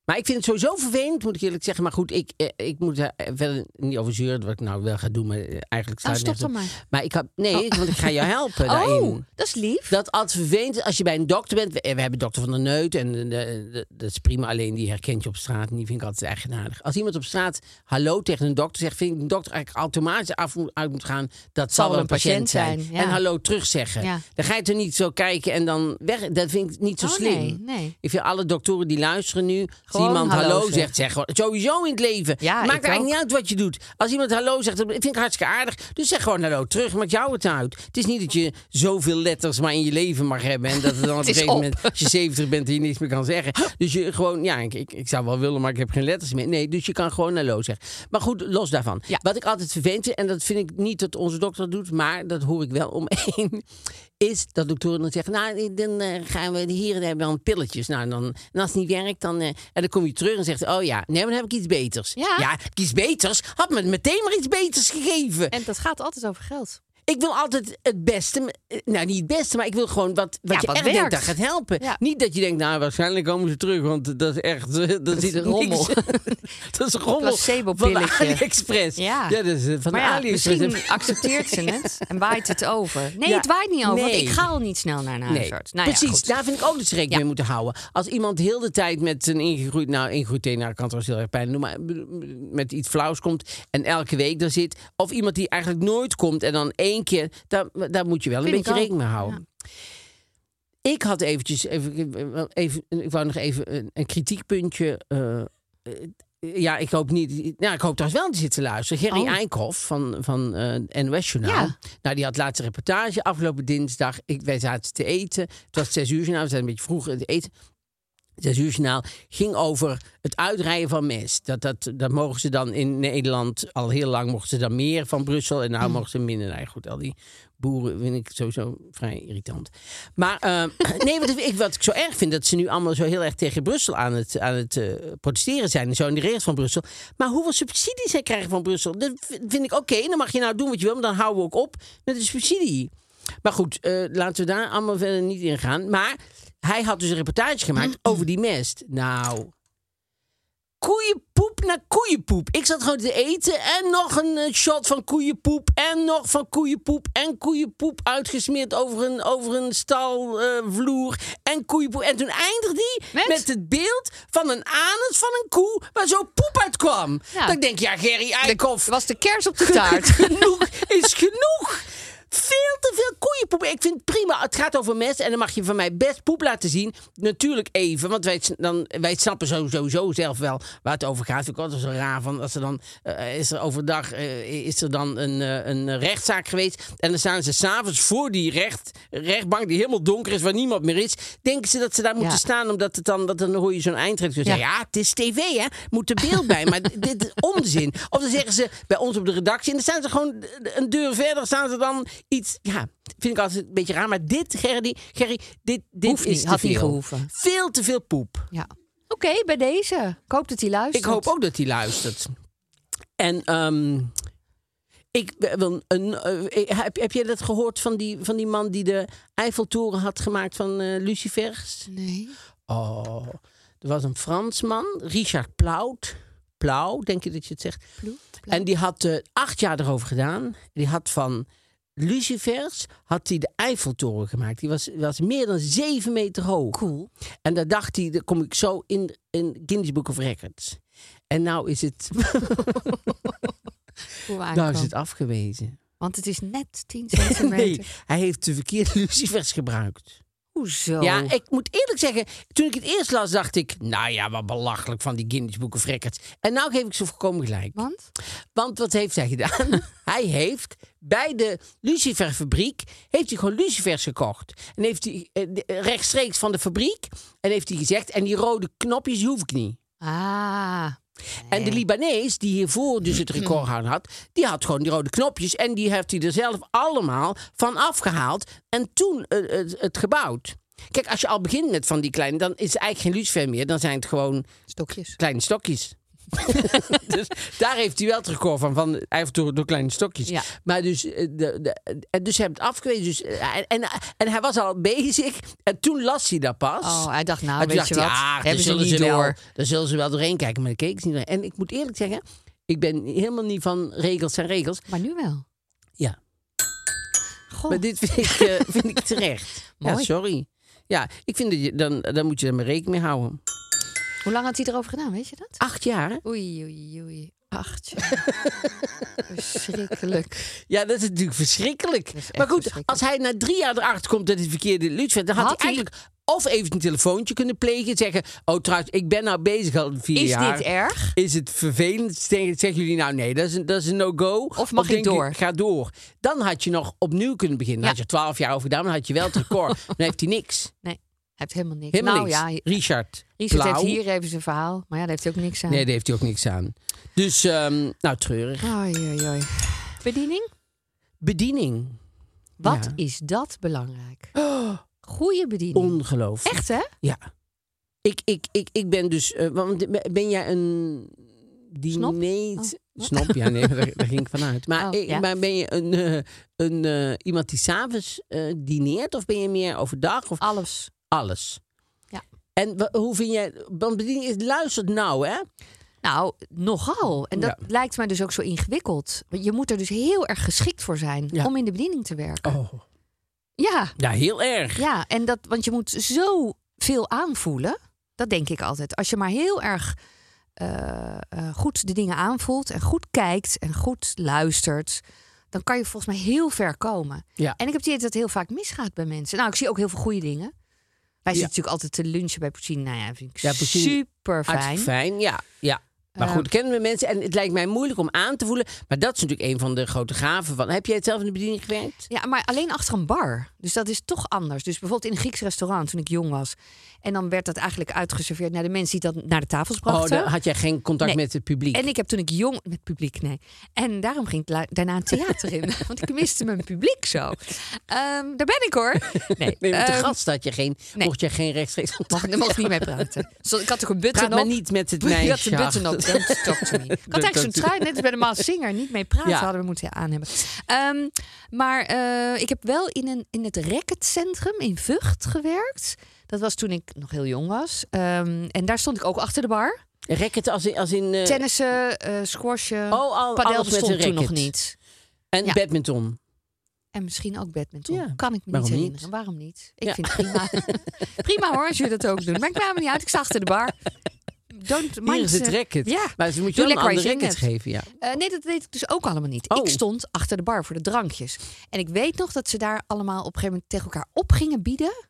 B: Maar ik vind het sowieso vervelend, moet ik eerlijk zeggen. Maar goed, ik, eh, ik moet daar eh, verder niet over zeuren wat ik nou wel ga doen. Maar eh, eigenlijk
D: Oh,
B: staat
D: stop dan maar.
B: Maar ik had... Nee, want ik ga je helpen
D: Oh,
B: daarin.
D: dat is lief.
B: Dat altijd vervelend is als je bij een dokter bent. We, eh, we hebben dokter van de Neut en eh, de- de- dat is prima. Alleen die herkent je op straat en die vind ik altijd eigenaardig. Als iemand op straat hallo tegen een dokter zegt... vind ik een dokter eigenlijk automatisch af moet, uit moet gaan... dat zal wel een patiënt zijn.
D: ja.
B: En hallo terug zeggen.
D: Ja.
B: Dan ga je er niet zo kijken en dan weg. Dat vind ik niet zo
D: Oh,
B: slim.
D: nee, nee.
B: Ik vind alle doktoren die luisteren nu... als
D: Gewoon
B: iemand hallo,
D: hallo
B: zegt, zeg gewoon... Sowieso in het leven.
D: Ja,
B: Maakt
D: ik
B: eigenlijk
D: ook.
B: niet uit wat je doet. Als iemand hallo zegt, dat vind ik hartstikke aardig. Dus zeg gewoon hallo terug, maakt jou het uit. Het is niet dat je zoveel letters maar in je leven mag hebben. En dat het dan op een
D: is
B: gegeven
D: op.
B: moment, als je 70 bent, hier niks meer kan zeggen. Dus je gewoon, ja, ik, ik, ik zou wel willen, maar ik heb geen letters meer. Nee, dus je kan gewoon hallo zeggen. Maar goed, los daarvan.
D: Ja.
B: Wat ik altijd vervelend vind, en dat vind ik niet dat onze dokter dat doet, maar dat hoor ik wel om één. Is dat doktoren dan zeggen, nou, dan eh, gaan we hier en hebben we dan pilletjes. Nou, en dan, en als het niet werkt, dan, eh, en dan kom je terug en zegt, oh ja, nee, maar dan heb ik iets beters.
D: Ja.
B: ja heb ik iets beters? Had me meteen maar iets beters gegeven.
D: En dat gaat altijd over geld.
B: Ik wil altijd het beste. eh, Nou, niet het beste, maar ik wil gewoon wat, wat
D: Ja,
B: je
D: wat
B: echt
D: werkt.
B: denkt dat gaat helpen.
D: Ja.
B: Niet dat je denkt, nou, waarschijnlijk komen ze terug, want dat is echt... eh, Dat
D: is
B: zit
D: een rommel.
B: niks. dat is een rommel van de
D: placebo-pilletje.
B: AliExpress.
D: Ja.
B: dat is eh, van
D: Maar
B: de
D: ja,
B: AliExpress.
D: misschien accepteert ze het en waait het over. Nee,
B: Ja,
D: het waait niet over, want
B: nee.
D: ik ga al niet snel naar een
B: Nee,
D: huisarts. Nou, ja,
B: precies.
D: goed.
B: daar vind ik ook dat ze rekening mee moeten houden. Als iemand heel de tijd met een ingegroeid... Nou, ingegroeid tenen kan trouwens heel erg pijn doen. mm, Maar met iets flauws komt en elke week daar zit. Of iemand die eigenlijk nooit komt en dan één één keer, daar, daar moet je wel een
D: Vind ik
B: beetje
D: ook.
B: rekening mee houden. Ik had eventjes, even, even, ik wou nog even een, een kritiekpuntje. eh, eh, ja, ik hoop niet. Nou, ik hoop trouwens wel dat hij zit te luisteren. Gerry
D: Oh.
B: Eikhoff van, van eh NOS Journaal.
D: Ja.
B: Nou, die had laatst een reportage afgelopen dinsdag. Ik, wij zaten te eten. Het was zes uur journaal. We zijn een beetje vroeg aan het eten. Zes uur journaal ging over het uitrijden van mest. Dat, dat, dat mogen ze dan in Nederland al heel lang mochten ze dan meer van Brussel en nou mogen ze minder. Nou, ja, goed, al die boeren vind ik sowieso vrij irritant. Maar eh, nee, wat ik, wat ik zo erg vind dat ze nu allemaal zo heel erg tegen Brussel aan het, aan het eh, protesteren zijn en zo in de regels van Brussel. Maar hoeveel subsidies zij krijgen van Brussel, dat v- vind ik oké. dan mag je nou doen wat je wil, maar dan houden we ook op met de subsidie. Maar goed, eh, laten we daar allemaal verder niet in gaan. Maar hij had dus een reportage gemaakt over die mest. Nou, koeienpoep naar koeienpoep. Ik zat gewoon te eten en nog een eh, shot van koeienpoep. En nog van koeienpoep. En koeienpoep uitgesmeerd over een, over een stalvloer. en koeienpoep. En toen eindigde hij
D: Met?
B: met? het beeld van een anus van een koe waar zo poep uit kwam.
D: Ja.
B: Dat ik denk, ja, Gerry Eikhoff.
D: was de kers op de taart.
B: genoeg is genoeg. Veel te veel koeienpoep. Ik vind het prima. Het gaat over mest. En dan mag je van mij best poep laten zien. Natuurlijk even. Want wij, s- dan, wij snappen zo- sowieso zelf wel waar het over gaat. Vind Ik altijd zo raar van. Als er dan, eh, is er overdag eh, is er dan een, eh, een rechtszaak geweest. En dan staan ze s'avonds voor die recht, rechtbank die helemaal donker is. Waar niemand meer is. Denken ze dat ze daar moeten staan. Omdat het dan, want dan hoor je zo'n eindredacteur zeggen. Ja, het is tv hè. Moet er beeld bij. Maar dit is onzin. Of dan zeggen ze bij ons op de redactie. En dan staan ze gewoon een deur verder. Staan ze dan iets. Ja, vind ik altijd een beetje raar. Maar dit, Gerdy, Gerry, dit, dit
D: Hoeft
B: is
D: niet,
B: te
D: had niet
B: veel.
D: gehoeven.
B: Veel te veel poep.
D: Ja. Oké, bij deze. Ik hoop dat hij luistert.
B: Ik hoop ook dat hij luistert. En ehm, ik wil een. eh, heb, heb jij dat gehoord van die, van die man die de Eiffeltoren had gemaakt van eh Lucifers?
D: Nee.
B: Oh, er was een Fransman, Richard Plaut. Plau, denk je dat je het zegt? En die had eh, acht jaar erover gedaan. Die had van lucifers had hij de Eiffeltoren gemaakt. Die was, was meer dan zeven meter hoog. Cool. En daar dacht hij, daar kom ik zo in, in Guinness Book of Records. En nou is het,
D: Hoe we
B: nou is
D: aankomen.
B: het afgewezen.
D: Want het is net 10 centimeter.
B: Nee, hij heeft de verkeerde lucifers gebruikt.
D: Hoezo?
B: Ja, ik moet eerlijk zeggen, toen ik het eerst las, dacht ik... nou ja, wat belachelijk van die Guinness Book of Records. En nou geef ik ze voorkomen gelijk.
D: Want?
B: Want wat heeft hij gedaan? hij heeft bij de luciferfabriek heeft hij gewoon lucifers gekocht. En heeft hij eh, de- eh, rechtstreeks van de fabriek en heeft hij gezegd en die rode knopjes die hoef ik niet.
D: Ah.
B: En de Libanees die hiervoor dus het
D: Mm-hmm.
B: recordhouder had, die had gewoon die rode knopjes en die heeft hij er zelf allemaal van afgehaald en toen eh, het, het gebouwd. Kijk, als je al begint met van die kleine, dan is het eigenlijk geen lucifer meer. Dan zijn het gewoon
D: Stokjes.
B: kleine stokjes. dus daar heeft hij wel het record van, van de Eiffeltoren door kleine stokjes.
D: Ja.
B: Maar dus, eh, de, de, en dus hij heeft het afgewezen. Dus, eh, en, en, en hij was al bezig. En toen las hij dat pas.
D: Oh, hij dacht,
B: En
D: nou,
B: toen
D: weet
B: dacht
D: je
B: hij,
D: wat?
B: ah, daar
D: Hebben ze
B: zullen
D: niet
B: wel-
D: door.
B: Daar zullen ze wel doorheen kijken. Maar dan keek ze niet doorheen. En ik moet eerlijk zeggen, ik ben helemaal niet van regels zijn regels.
D: Maar nu wel.
B: Ja.
D: Goh.
B: Maar dit vind ik, eh, vind ik terecht. Ja,
D: Mooi.
B: sorry. Ja, ik vind dat je, dan, dan moet je er maar rekening mee houden.
D: Hoe lang had hij erover gedaan, weet je dat?
B: Acht jaar, hè?
D: Oei, oei, oei. Acht jaar. Verschrikkelijk.
B: Ja, dat is natuurlijk verschrikkelijk.
D: is echt
B: maar goed,
D: verschrikkelijk.
B: als hij na drie jaar erachter komt dat het verkeerde Lutz werd, dan had,
D: Had
B: hij
D: hij-
B: eigenlijk of even een telefoontje kunnen plegen. Zeggen, oh trouwens, ik ben nou bezig al vier
D: Is
B: jaar.
D: dit erg?
B: Is het vervelend? Zeggen zeggen jullie nou nee, dat is een, dat is een no-go?
D: Of mag ik
B: denken jullie,
D: door?
B: Ga door. Dan had je nog opnieuw kunnen beginnen. Dan
D: Ja.
B: had je twaalf jaar over gedaan, dan had je wel het record. dan heeft hij niks.
D: Nee, hij heeft helemaal niks.
B: Helemaal
D: nou
B: niks.
D: ja, hij-
B: Richard.
D: Richard
B: Plauw.
D: heeft hier eh, even zijn verhaal. Maar ja, daar heeft hij ook niks aan.
B: Nee, daar heeft hij ook niks aan. Dus, ehm, nou treurig.
D: Oei, oei, oei. Bediening?
B: Bediening.
D: Wat
B: Ja.
D: is dat belangrijk? Goede bediening.
B: Ongelooflijk.
D: Echt, hè?
B: Ja. Ik, ik, ik, ik ben dus. eh, want ben jij een.
D: Snop?
B: diner-
D: Oh, wat?
B: Snop, ja, nee, daar, daar ging ik vanuit. Maar,
D: Oh,
B: ik-
D: ja.
B: maar ben je een, eh, een, eh, iemand die s'avonds eh dineert? Of ben je meer overdag? Of
D: Alles.
B: alles?
D: Ja.
B: En wa- hoe vind jij. Want bediening is luistert nou, hè?
D: Nou, nogal. En dat
B: Ja.
D: lijkt mij dus ook zo ingewikkeld. Want Je moet er dus heel erg geschikt voor zijn
B: Ja.
D: om in de bediening te werken.
B: Oh.
D: Ja,
B: Ja, heel erg.
D: ja. En dat, want je moet zo veel aanvoelen. Dat denk ik altijd. Als je maar heel erg eh, eh, goed de dingen aanvoelt en goed kijkt en goed luistert, dan kan je volgens mij heel ver komen.
B: Ja.
D: En ik heb het idee dat het heel vaak misgaat bij mensen. Nou, ik zie ook heel veel goede dingen. Wij
B: Ja.
D: zitten natuurlijk altijd te lunchen bij Poutine. Nou ja, vind ik
B: Ja, Poutine-
D: super fijn.
B: Hartstikke fijn, ja. ja. Maar goed, kennen we mensen. En het lijkt mij moeilijk om aan te voelen. Maar dat is natuurlijk een van de grote gaven. Van, heb jij het zelf in de bediening gewerkt?
D: Ja, maar alleen achter een bar. Dus dat is toch anders. Dus bijvoorbeeld in een Grieks restaurant toen ik jong was. En dan werd dat eigenlijk uitgeserveerd naar de mensen die dat naar de tafels
B: Oh,
D: brachten.
B: dan had jij geen contact
D: Nee.
B: met het publiek.
D: En ik heb toen ik jong met publiek, nee. En daarom ging ik la- daarna een theater in. Want ik miste mijn publiek zo. Ehm, daar ben ik hoor. Nee,
B: Nee, met de
D: ehm,
B: gast had je geen,
D: nee.
B: mocht je geen rechtstreeks contact.
D: Mag, daar mocht ik niet mee praten. Dus ik had ook een button
B: Praat
D: op.
B: maar niet met het
D: Ik had
B: meisje.
D: een button op. Don't talk to me. Ik had eigenlijk zo'n trui, net als bij de Maas Singer, niet mee praten
B: Ja.
D: hadden we moeten aan hebben. Ehm, maar eh, ik heb wel in, een, in het racketcentrum in Vught gewerkt. Dat was toen ik nog heel jong was. Ehm, en daar stond ik ook achter de bar.
B: Racket als in... Als in eh,
D: Tennissen, eh squashen,
B: Oh, al-
D: padel
B: alles met
D: bestond
B: een
D: toen nog
B: racket.
D: niet.
B: en
D: ja.
B: badminton.
D: En misschien ook badminton.
B: Ja,
D: Kan ik me
B: waarom
D: niet
B: niet?
D: herinneren. Waarom niet? Ik
B: Ja.
D: vind het prima. prima hoor, als jullie dat ook doen. Maar ik kwam me niet uit. Ik sta achter de bar. Don't mind
B: Hier is het
D: eh,
B: racket.
D: Ja.
B: Maar ze moet je
D: Doe
B: wel een
D: lekker als
B: ander
D: je zin
B: racket
D: hebt.
B: geven, ja.
D: Eh, nee, dat deed ik dus ook allemaal niet.
B: Oh.
D: Ik stond achter de bar voor de drankjes. En ik weet nog dat ze daar allemaal op een gegeven moment tegen elkaar op gingen bieden.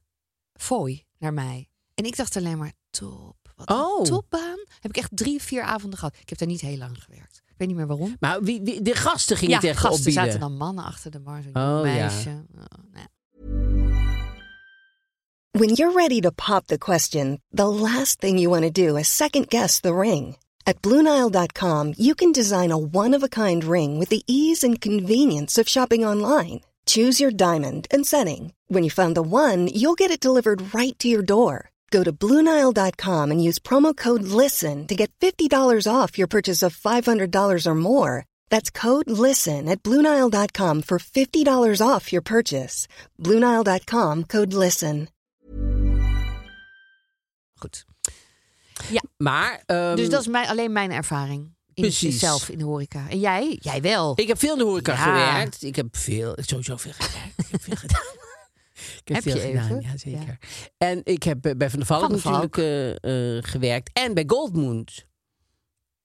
D: Fooi naar mij. En ik dacht alleen maar, top. Wat een
B: Oh.
D: topbaan. Heb ik echt drie, vier avonden gehad. Ik heb daar niet heel lang gewerkt. Ik weet niet meer waarom.
B: Maar wie, wie- de gasten gingen
D: ja,
B: tegen
D: gasten
B: opbieden.
D: zaten dan mannen achter de bar. Zo'n
B: Oh,
D: jong
B: ja.
D: meisje. Oh, nou ja.
E: When you're ready to pop the question, the last thing you want to do is second guess the ring. At Bluenile.com, you can design a one of a kind ring with the ease and convenience of shopping online. Choose your diamond and setting. When you find the one, you'll get it delivered right to your door. Go to Bluenile.com and use promo code LISTEN to get $50 off your purchase of $500 or more. That's code LISTEN at Bluenile.com for $50 off your purchase. Bluenile.com code LISTEN.
D: Goed.
B: Maar... ehm,
D: dus dat is mijn, alleen mijn ervaring. In
B: Precies.
D: Zelf in de horeca. En jij? Jij wel.
B: Ik heb veel in de horeca
D: Ja.
B: gewerkt. Ik heb veel, sowieso veel gewerkt. Ik heb veel gedaan. Ik heb,
D: Heb
B: veel
D: je
B: gedaan,
D: even?
B: ja zeker. En ik heb eh, bij Van der Valk
D: Van der Valk.
B: natuurlijk eh, eh, gewerkt. En bij Goldmoed.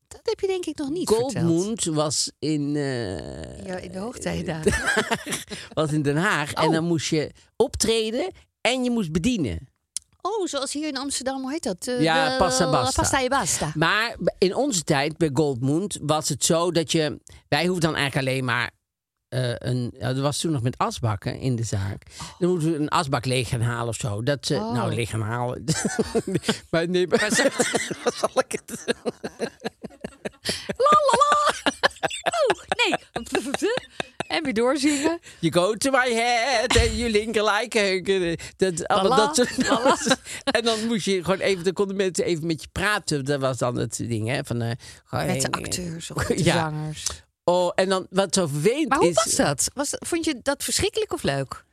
D: dat heb je denk ik nog niet verteld.
B: Goldmoed was in, eh,
D: Ja, in de hoogtijdagen.
B: was in Den Haag. En
D: Oh.
B: dan moest je optreden en je moest bedienen.
D: Oh, zoals hier in Amsterdam, hoe heet dat? Eh,
B: Ja,
D: de-
B: pasta basta.
D: Pasta e basta.
B: Maar in onze tijd bij Goldmoed was het zo dat je... Wij hoefden dan eigenlijk alleen maar... eh, een, ja, dat was toen nog met asbakken in de zaak. Dan moeten we een asbak leeg gaan halen of zo. Dat ze,
D: Oh.
B: Nou, leeg gaan halen. maar nee, maar, wat zal ik het doen?
D: La la la. Oh, nee. En weer doorzingen.
B: You go to my head and you link like a- dat, allemaal
D: la,
B: dat soort En dan moest je gewoon even, dan konden mensen even met je praten. Dat was dan het ding, hè? Van, eh, gewoon-
D: Met de acteurs of met de
B: Ja.
D: zangers.
B: Oh, en dan wat zo vervelend
D: Maar hoe
B: is. eh,
D: was dat? was dat? Vond je dat verschrikkelijk of leuk?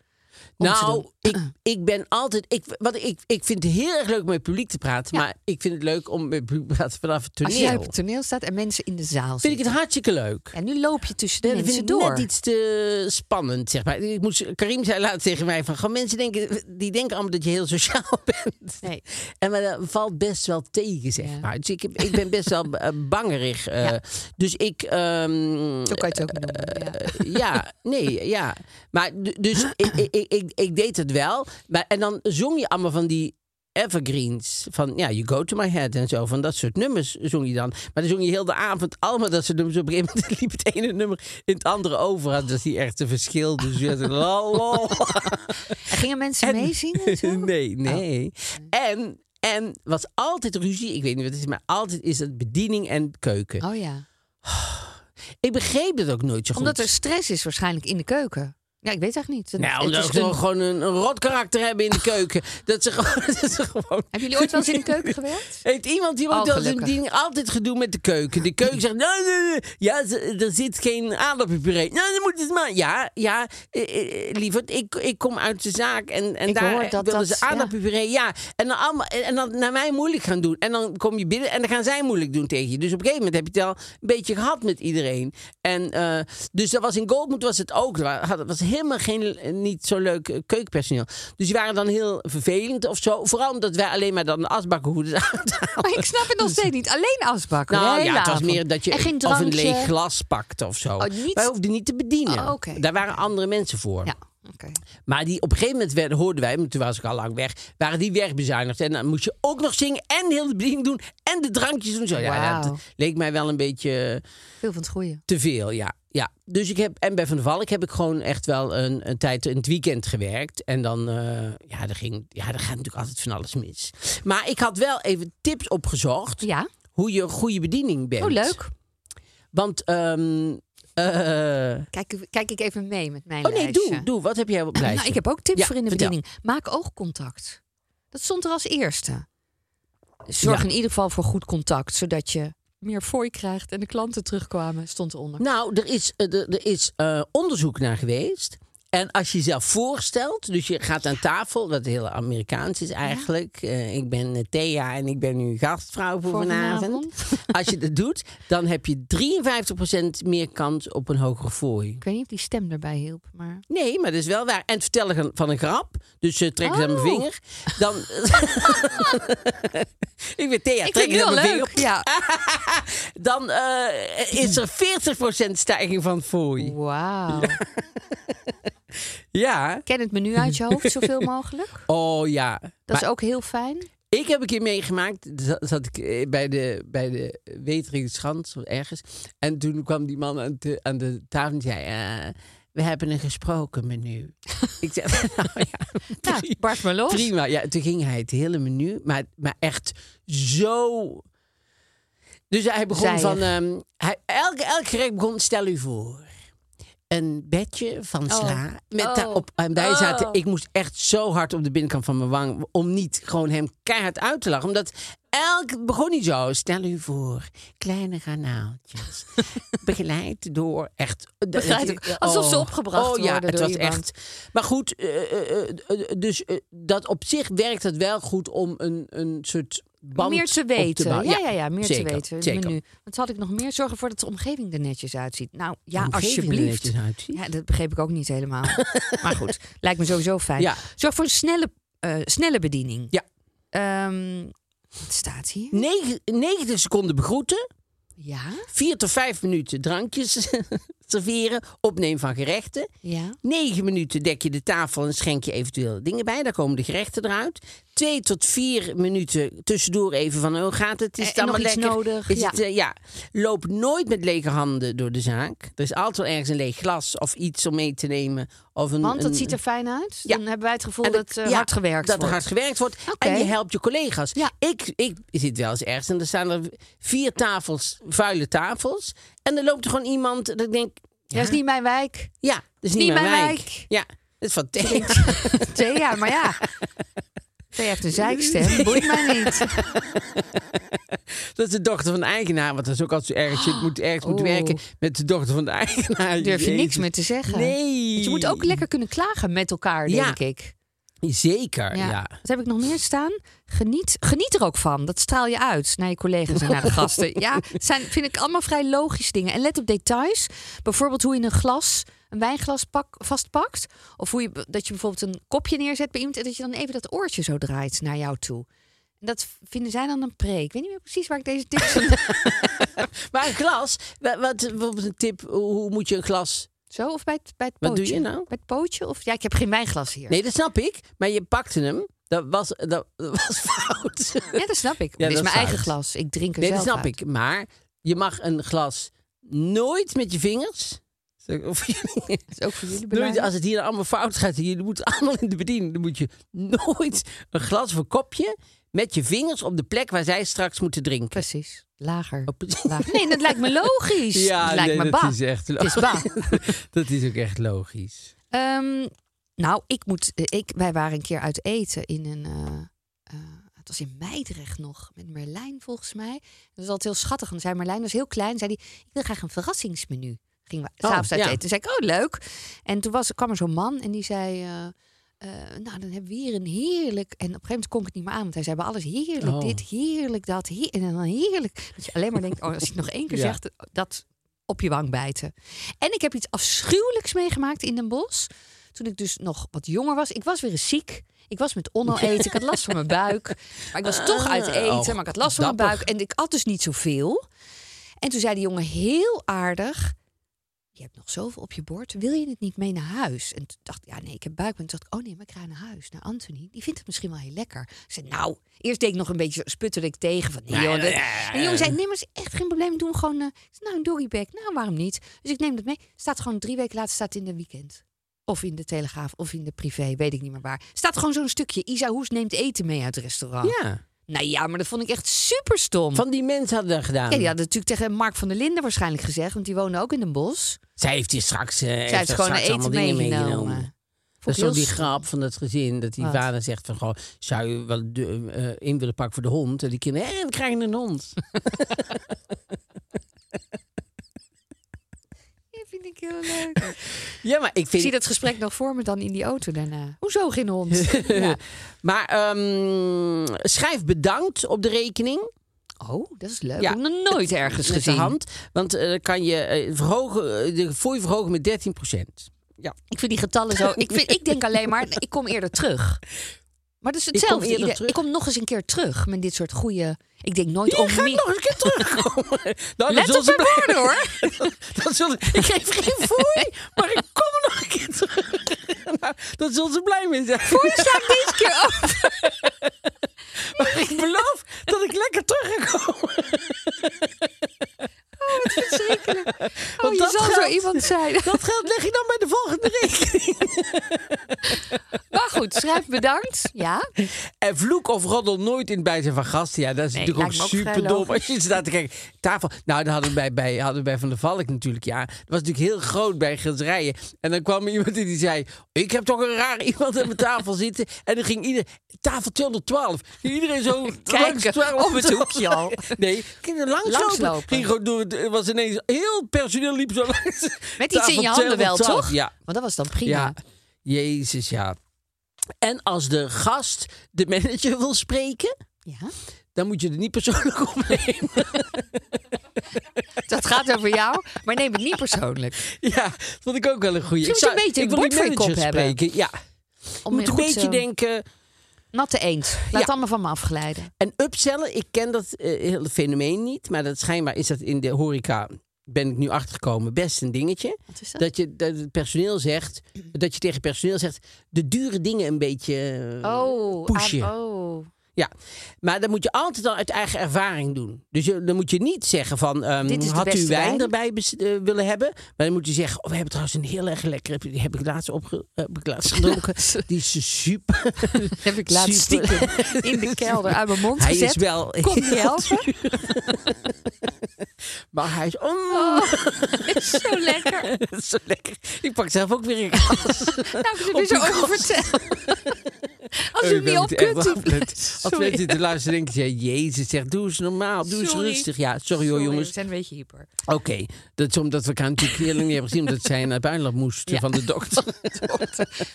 D: om te
B: Nou,
D: doen?
B: ik, ik ben altijd. Ik, wat, ik, ik vind het heel erg leuk om met het publiek te praten.
D: Ja.
B: Maar ik vind het leuk om met het publiek te praten vanaf het
D: Als jij
B: toneel.
D: op het toneel staat en mensen in de zaal
B: vind ik
D: zitten.
B: het hartstikke leuk.
D: En nu loop je tussen de
B: Ja, dat vind
D: mensen
B: ik
D: door.
B: net iets te spannend, zeg maar. Ik moest, Karim zei laatst tegen mij van... Gewoon mensen denken, die denken allemaal dat je heel sociaal bent.
D: Nee.
B: En maar dat valt best wel tegen, zeg
D: Ja.
B: maar. Dus ik, heb- ik ben best wel eh, bangerig. eh.
D: Ja.
B: Dus ik... ehm,
D: Zo kan je het ook noemen. ja.
B: Eh, ja, nee, ja. Maar d- dus ik, ik, ik- ik, ik deed het wel. Maar, en dan zong je allemaal van die evergreens. Van ja, You Go To My Head en zo. Van dat soort nummers zong je dan. Maar dan zong je heel de avond allemaal dat soort nummers. Op een gegeven moment liep het ene nummer in het andere over. Dat is die echte verschil. Dus je had een lol, lol.
D: En gingen mensen meezingen? en zo? Oh.
B: Nee, nee. En, en was altijd ruzie. Ik weet niet wat het is, maar altijd is het bediening en keuken.
D: Oh ja.
B: Ik begreep het ook nooit zo goed.
D: Omdat er stress is waarschijnlijk in de keuken. Ja, ik weet echt niet. Dat-
B: Nou,
D: het
B: omdat
D: is
B: ze
D: een-
B: gewoon een, een rot karakter hebben in de keuken. Dat ze gewoon... Dat ze gewoon...
D: Hebben jullie ooit wel eens in de keuken gewerkt?
B: Heeft iemand hier
D: Oh,
B: ook wel eens een
D: gelukkig.
B: bediening altijd gedoe met de keuken? De keuken zegt, nou, nou, nou, ja, ze- er zit geen aardappelpuree. Nou, dan moet het maar. Ja, ja, eh, eh, lieverd, ik, ik kom uit de zaak en, en
D: Ik
B: daar
D: hoor dat
B: willen
D: dat-
B: ze aardappelpuree. Ja, en, dan allemaal, en dan naar mij moeilijk gaan doen. En dan kom je binnen en dan gaan zij moeilijk doen tegen je. Dus op een gegeven moment heb je het al een beetje gehad met iedereen. En eh, dus dat was in Goldmoed was het ook. Er wa- had- was een helemaal geen, niet zo leuk eh, keukenpersoneel. Dus die waren dan heel vervelend of zo. Vooral omdat wij alleen maar dan de asbakken hoeden
D: Maar ik snap het nog steeds niet. Alleen asbakken. de
B: Nou
D: hele
B: ja, het was
D: avond.
B: meer dat je
D: En geen
B: een- of een
D: drankje.
B: leeg glas pakte of zo.
D: Oh, niet-
B: Wij hoefden niet te bedienen.
D: Oh, oké.
B: Daar waren andere mensen voor.
D: Ja, oké.
B: Maar die, op een gegeven moment werden, hoorden wij, want toen was ik al lang weg, waren die wegbezuinigd. En dan moest je ook nog zingen en heel de bediening doen en de drankjes doen. Zo, ja,
D: Wauw.
B: dat leek mij wel een beetje eh,
D: Veel van het goede.
B: te veel, ja. ja. Dus ik heb, en bij Van der Valk heb ik gewoon echt wel een, een tijd in het weekend gewerkt. En dan, eh, ja, er ging, ja, er gaat natuurlijk altijd van alles mis. Maar ik had wel even tips opgezocht
D: Ja.
B: hoe je een goede bediening bent.
D: Oh, leuk.
B: Want, ehm, eh,
D: Kijk, kijk ik even mee met mijn
B: oh nee,
D: lijstje.
B: doe, doe. Wat heb jij op het lijstje?
D: Nou, ik heb ook tips
B: Ja,
D: voor in de
B: vertel.
D: bediening. Maak oogcontact. Dat stond er als eerste. Zorg
B: Ja.
D: in ieder geval voor goed contact, zodat je meer fooi krijgt en de klanten terugkwamen, stond eronder.
B: Nou, er is, eh, er, er is eh, onderzoek naar geweest. En als je jezelf voorstelt, dus je gaat aan tafel, wat heel Amerikaans is eigenlijk. eh, ik ben eh, Thea en ik ben nu gastvrouw voor,
D: Voor
B: vanavond.
D: vanavond.
B: Als je dat doet, dan heb je 53% meer kans op een hogere fooi.
D: Ik weet niet of die stem erbij hielp, maar...
B: Nee, maar dat is wel waar. En het vertellen van een grap. Dus eh, trek ze aan mijn
D: Oh.
B: vinger. Dan. ik ben Thea,
D: ik
B: trek
D: vind
B: eens
D: het
B: aan
D: heel
B: mijn
D: leuk.
B: vinger.
D: Ja.
B: Dan eh, is er 40% stijging van fooi.
D: Wauw.
B: Ja.
D: Ken het menu uit je hoofd zoveel mogelijk. Dat
B: Oh ja. Maar
D: is ook heel fijn.
B: Ik heb een keer meegemaakt, za- zat ik eh, bij de, bij de Weteringschans of ergens. En toen kwam die man aan de, aan de tafel en die zei... eh, we hebben een gesproken menu. ik zei, nou ja,
D: Nou, barst maar los.
B: prima. Ja, toen ging hij het hele menu, maar, maar echt zo... Dus hij begon
D: Zijig.
B: van... ehm, hij, elk, elk gerecht begon, stel u voor... Een bedje van sla. Met
D: Oh.
B: daarop, en wij zaten,
D: Oh.
B: ik moest echt zo hard op de binnenkant van mijn wang... om niet gewoon hem keihard uit te lachen. Omdat elk begon niet zo. Stel u voor, kleine granaaltjes. begeleid door echt... eh,
D: Begeleid ook. Alsof ze opgebracht
B: oh, ja,
D: worden
B: het
D: door
B: was
D: iemand.
B: echt... Maar goed, eh, eh, eh, eh, dus eh, dat op zich werkt het wel goed om een, een soort band
D: meer te
B: op bouwen.
D: weten. ja, ja, ja, meer
B: zeker,
D: te weten. Het
B: Zeker.
D: Menu. Want had ik nog meer zorgen voor dat de omgeving er netjes uitziet. Nou ja,
B: omgeving er
D: alsjeblieft.
B: netjes uitziet?
D: Ja, dat begreep ik ook niet helemaal. maar goed, lijkt me sowieso fijn.
B: Ja.
D: Zorg voor een snelle, eh, snelle bediening.
B: Ja.
D: Ehm, wat staat hier?
B: Negen- 90 seconden begroeten.
D: Ja.
B: vier tot vijf minuten drankjes serveren, opneem van gerechten.
D: Ja.
B: Negen minuten dek je de tafel en schenk je eventueel dingen bij. Daar komen de gerechten eruit. Twee tot vier minuten tussendoor even van, oh gaat het? Is het
D: Eh, En nog
B: allemaal
D: iets
B: lekker?
D: nodig?
B: Is
D: Ja.
B: het, eh, ja. Loop nooit met lege handen door de zaak. Er is altijd wel ergens een leeg glas of iets om mee te nemen. Of een,
D: Want dat
B: een-
D: ziet er fijn uit.
B: Ja.
D: Dan hebben wij het gevoel
B: en
D: dat eh,
B: ja,
D: hard gewerkt
B: dat er
D: wordt.
B: hard gewerkt wordt.
D: Oké.
B: En je helpt je collega's.
D: Ja.
B: Ik, ik zit wel eens ergens en er staan er vier tafels, vuile tafels. En dan loopt er gewoon iemand dat ik denk...
D: Ja, is niet mijn wijk.
B: Ja, dat is niet, mijn, wijk. Ja, dat is van tegen.
D: Thea, maar ja. Thea heeft een zeikstem. Boeit mij niet.
B: Dat is de dochter van de eigenaar. Want dat is ook altijd zo erg. Je moet ergens moet
D: Oh.
B: werken met de dochter van de eigenaar.
D: Durf je
B: Jezus.
D: niks meer te zeggen.
B: Nee.
D: Want je moet ook lekker kunnen klagen met elkaar,
B: Ja.
D: denk ik.
B: Zeker, ja.
D: Wat heb ik nog meer staan? Geniet, geniet er ook van. Dat straal je uit naar je collega's en naar de gasten. Ja, het zijn, vind ik allemaal vrij logische dingen. En let op details. Bijvoorbeeld hoe je een glas, een wijnglas pak, vastpakt. Of hoe je, b- dat je bijvoorbeeld een kopje neerzet bij iemand... en dat je dan even dat oortje zo draait naar jou toe. En dat vinden zij dan een preek. Ik weet niet meer precies waar ik deze tips van...
B: Maar een glas, wa- wat, bijvoorbeeld een tip, hoe moet je een glas...
D: Zo, of bij het, bij het
B: Wat
D: pootje?
B: doe je nou?
D: Bij het pootje? Of, ja, ik heb geen wijnglas hier.
B: Nee, dat snap ik. Maar je pakte hem. Dat was, dat, dat was fout.
D: Ja, dat snap ik.
B: Ja,
D: Dit
B: dat
D: is mijn
B: is
D: eigen
B: fout.
D: glas. Ik drink er
B: Nee, dat
D: zelf
B: snap
D: uit.
B: ik. Maar je mag een glas nooit met je vingers... Of jullie-
D: Dat is ook voor jullie
B: Nooit,
D: belangrijk.
B: als het hier allemaal fout gaat, jullie moeten allemaal in de bediening. Dan moet je nooit een glas of een kopje met je vingers op de plek waar zij straks moeten drinken.
D: Precies. Lager.
B: Oh, precies.
D: Lager. Nee, dat lijkt me logisch. dat lijkt
B: nee,
D: me
B: dat
D: ba.
B: is echt
D: Het is
B: logisch.
D: ba.
B: dat is ook echt logisch.
D: Ehm, nou, ik moet, eh, ik, wij waren een keer uit eten in een... eh, eh, het was in Meidrecht nog, met Merlijn volgens mij. Dat was altijd heel schattig. En dan zei Merlijn, was heel klein, zei die, ik wil graag een verrassingsmenu. Gingen we
B: Oh,
D: s'avonds uit
B: ja.
D: eten. Toen zei ik, oh leuk. En toen was, kwam er zo'n man en die zei... eh, eh, nou, dan hebben we hier een heerlijk... En op een gegeven moment kon ik het niet meer aan. Want hij zei bij alles heerlijk
B: Oh.
D: dit, heerlijk dat. heer- en dan heerlijk. Dat je alleen maar denkt, oh, als ik nog één keer
B: Ja.
D: zeg, dat op je wang bijten. En ik heb iets afschuwelijks meegemaakt in Den Bosch. Toen ik dus nog wat jonger was. Ik was weer eens ziek. Ik was met onno eten. Ik had last van mijn buik. Maar ik was toch uit eten.
B: oh,
D: maar ik had last van mijn
B: dapper.
D: buik. En ik at dus niet zoveel. En toen zei die jongen heel aardig... Je hebt nog zoveel op je bord. Wil je het niet mee naar huis? En toen dacht ik, ja nee, ik heb buikpijn. Toen dacht ik, oh nee, maar ik ga naar huis. Naar Anthony. Die vindt het misschien wel heel lekker. Ik zei, nou, eerst deed ik nog een beetje sputterig tegen. Van, nee, joh, dat- En de jongen zei, nee, maar is echt geen probleem. Doe hem gewoon, eh, ik zei, nou, een doggyback. Nou, waarom niet? Dus ik neem dat mee. Staat gewoon drie weken later, staat in de weekend. Of in de Telegraaf, of in de privé, weet ik niet meer waar. Staat gewoon zo'n stukje. Isa Hoes neemt eten mee uit het restaurant.
B: Ja.
D: Nou ja, maar dat vond ik echt super stom.
B: Van die mensen hadden dat gedaan.
D: Ja, die hadden natuurlijk tegen Mark van der Linden waarschijnlijk gezegd. Want die woonde ook in Den Bosch.
B: Zij heeft hier straks, eh heeft
D: Zij heeft
B: daar
D: gewoon
B: straks allemaal
D: eten
B: dingen
D: meegenomen.
B: meegenomen. Dat is
D: Vond ik
B: toch
D: heel
B: die grap van dat gezin. Dat die
D: Wat?
B: vader zegt van, goh, zou je wel de- eh, in willen pakken voor de hond? En die kinderen, hé, we krijgen een hond.
D: Ja, vind ik heel leuk.
B: ja, maar ik
D: ik
B: vind...
D: zie dat gesprek nog voor me dan in die auto daarna. Hoezo geen hond? ja.
B: Maar ehm, schrijf bedankt op de rekening.
D: Oh, dat is leuk.
B: Ja.
D: Ja. Ik heb nog nooit ergens
B: Met de
D: gezien.
B: hand. Want eh, dan kan je eh, verhogen, eh, de fooi verhogen met 13 Ja.
D: Ik vind die getallen zo. Ik, vind, ik denk alleen maar, ik kom eerder terug. Maar dat is
B: kom
D: hetzelfde.
B: eerder
D: Ieder-
B: terug.
D: ik kom nog eens een keer terug met dit soort goede. Ik denk nooit om
B: ga ik
D: meer-
B: nog een keer terugkomen. Nou, dan
D: Let
B: zullen
D: op
B: ze
D: mijn
B: blij-
D: woorden hoor.
B: Dan zullen, ik geef geen fooi, maar ik kom nog een keer terug. Nou, dan zullen ze blij mee zijn. Fooi
D: Sla deze keer af.
B: Maar ik beloof dat ik lekker terug ga komen.
D: Oh, je
B: dat
D: zal zo
B: geldt.
D: iemand zijn.
B: Dat geld leg je dan bij de volgende rekening.
D: Maar goed, schrijf bedankt. Ja.
B: En vloek of roddel nooit in het bijzijn van gasten. Ja, dat is
D: Nee,
B: natuurlijk ook
D: lijkt me ook vrij
B: super dom. Als
D: logisch.
B: je staat te kijken. Tafel. Nou, dat hadden we bij, bij, hadden we bij Van der Valk natuurlijk. Ja, dat was natuurlijk heel groot bij Gilderijen. En dan kwam er iemand die die zei: Ik heb toch een raar iemand aan mijn tafel zitten. En dan ging ieder. Tafel 212. Ging iedereen zo. langs
D: Kijken,
B: 12
D: op het hoekje al.
B: Nee, ging er langslopen.
D: Langslopen.
B: Ging gewoon door het. het Was ineens heel personeel liep zo langs.
D: Met iets in je
B: Tafel
D: handen wel,
B: 212.
D: toch?
B: Ja.
D: Want dat was dan prima.
B: Ja, jezus ja. En als de gast de manager wil spreken,
D: Ja.
B: dan moet je er niet persoonlijk opnemen.
D: Dat gaat over jou, maar neem het niet persoonlijk.
B: Ja, dat vond ik ook wel een goeie.
D: Misschien
B: Ik
D: moet
B: zou-
D: je een beetje
B: ik
D: een
B: wil die
D: bord voor je
B: manager
D: kop hebben.
B: spreken. Ja,
D: Om
B: moet
D: je
B: een
D: goed,
B: beetje
D: eh,
B: denken.
D: Natte eend. Laat
B: Ja.
D: het allemaal van me afglijden.
B: En upsellen, ik ken dat eh, hele fenomeen niet, maar dat schijnbaar is dat in de horeca, ben ik nu achtergekomen, best een dingetje.
D: Wat is dat?
B: Dat je dat het personeel zegt, dat je tegen het personeel zegt, de dure dingen een beetje eh,
D: Oh,
B: pushen.
D: ah, oh.
B: Ja, maar dat moet je altijd dan uit eigen ervaring doen. Dus je, dan moet je niet zeggen van, ehm,
D: Dit is de
B: had u
D: beste
B: wijn,
D: wijn.
B: erbij bes- eh, willen hebben? Maar dan moet je zeggen, oh, we hebben trouwens een heel erg lekkere, die heb ik laatst, opge, heb ik laatst gedronken. Die is super.
D: Heb ik laatst
B: Super.
D: stiekem in de kelder uit mijn mond
B: Hij
D: gezet.
B: is wel
D: Kom je
B: heel
D: helpen?
B: Maar hij is, mm,
D: Oh. Zo lekker.
B: zo lekker. Ik pak zelf ook weer een kaas.
D: Nou, ik heb
B: Op
D: er zo
B: de
D: over
B: kast.
D: vertellen. Als u
B: Ik ben
D: niet op
B: echt
D: kunt.
B: wel
D: u-
B: blöd. Als
D: Sorry.
B: mensen zitten luisteren, denken ze, jezus, zeg, doe eens normaal, doe eens
D: Sorry.
B: rustig. Ja, sorry hoor jongens.
D: We zijn een beetje hyper.
B: Oké, dat is omdat we elkaar natuurlijk heel lang niet hebben gezien, omdat zij naar het buitenland moesten
D: Ja.
B: van de dokter.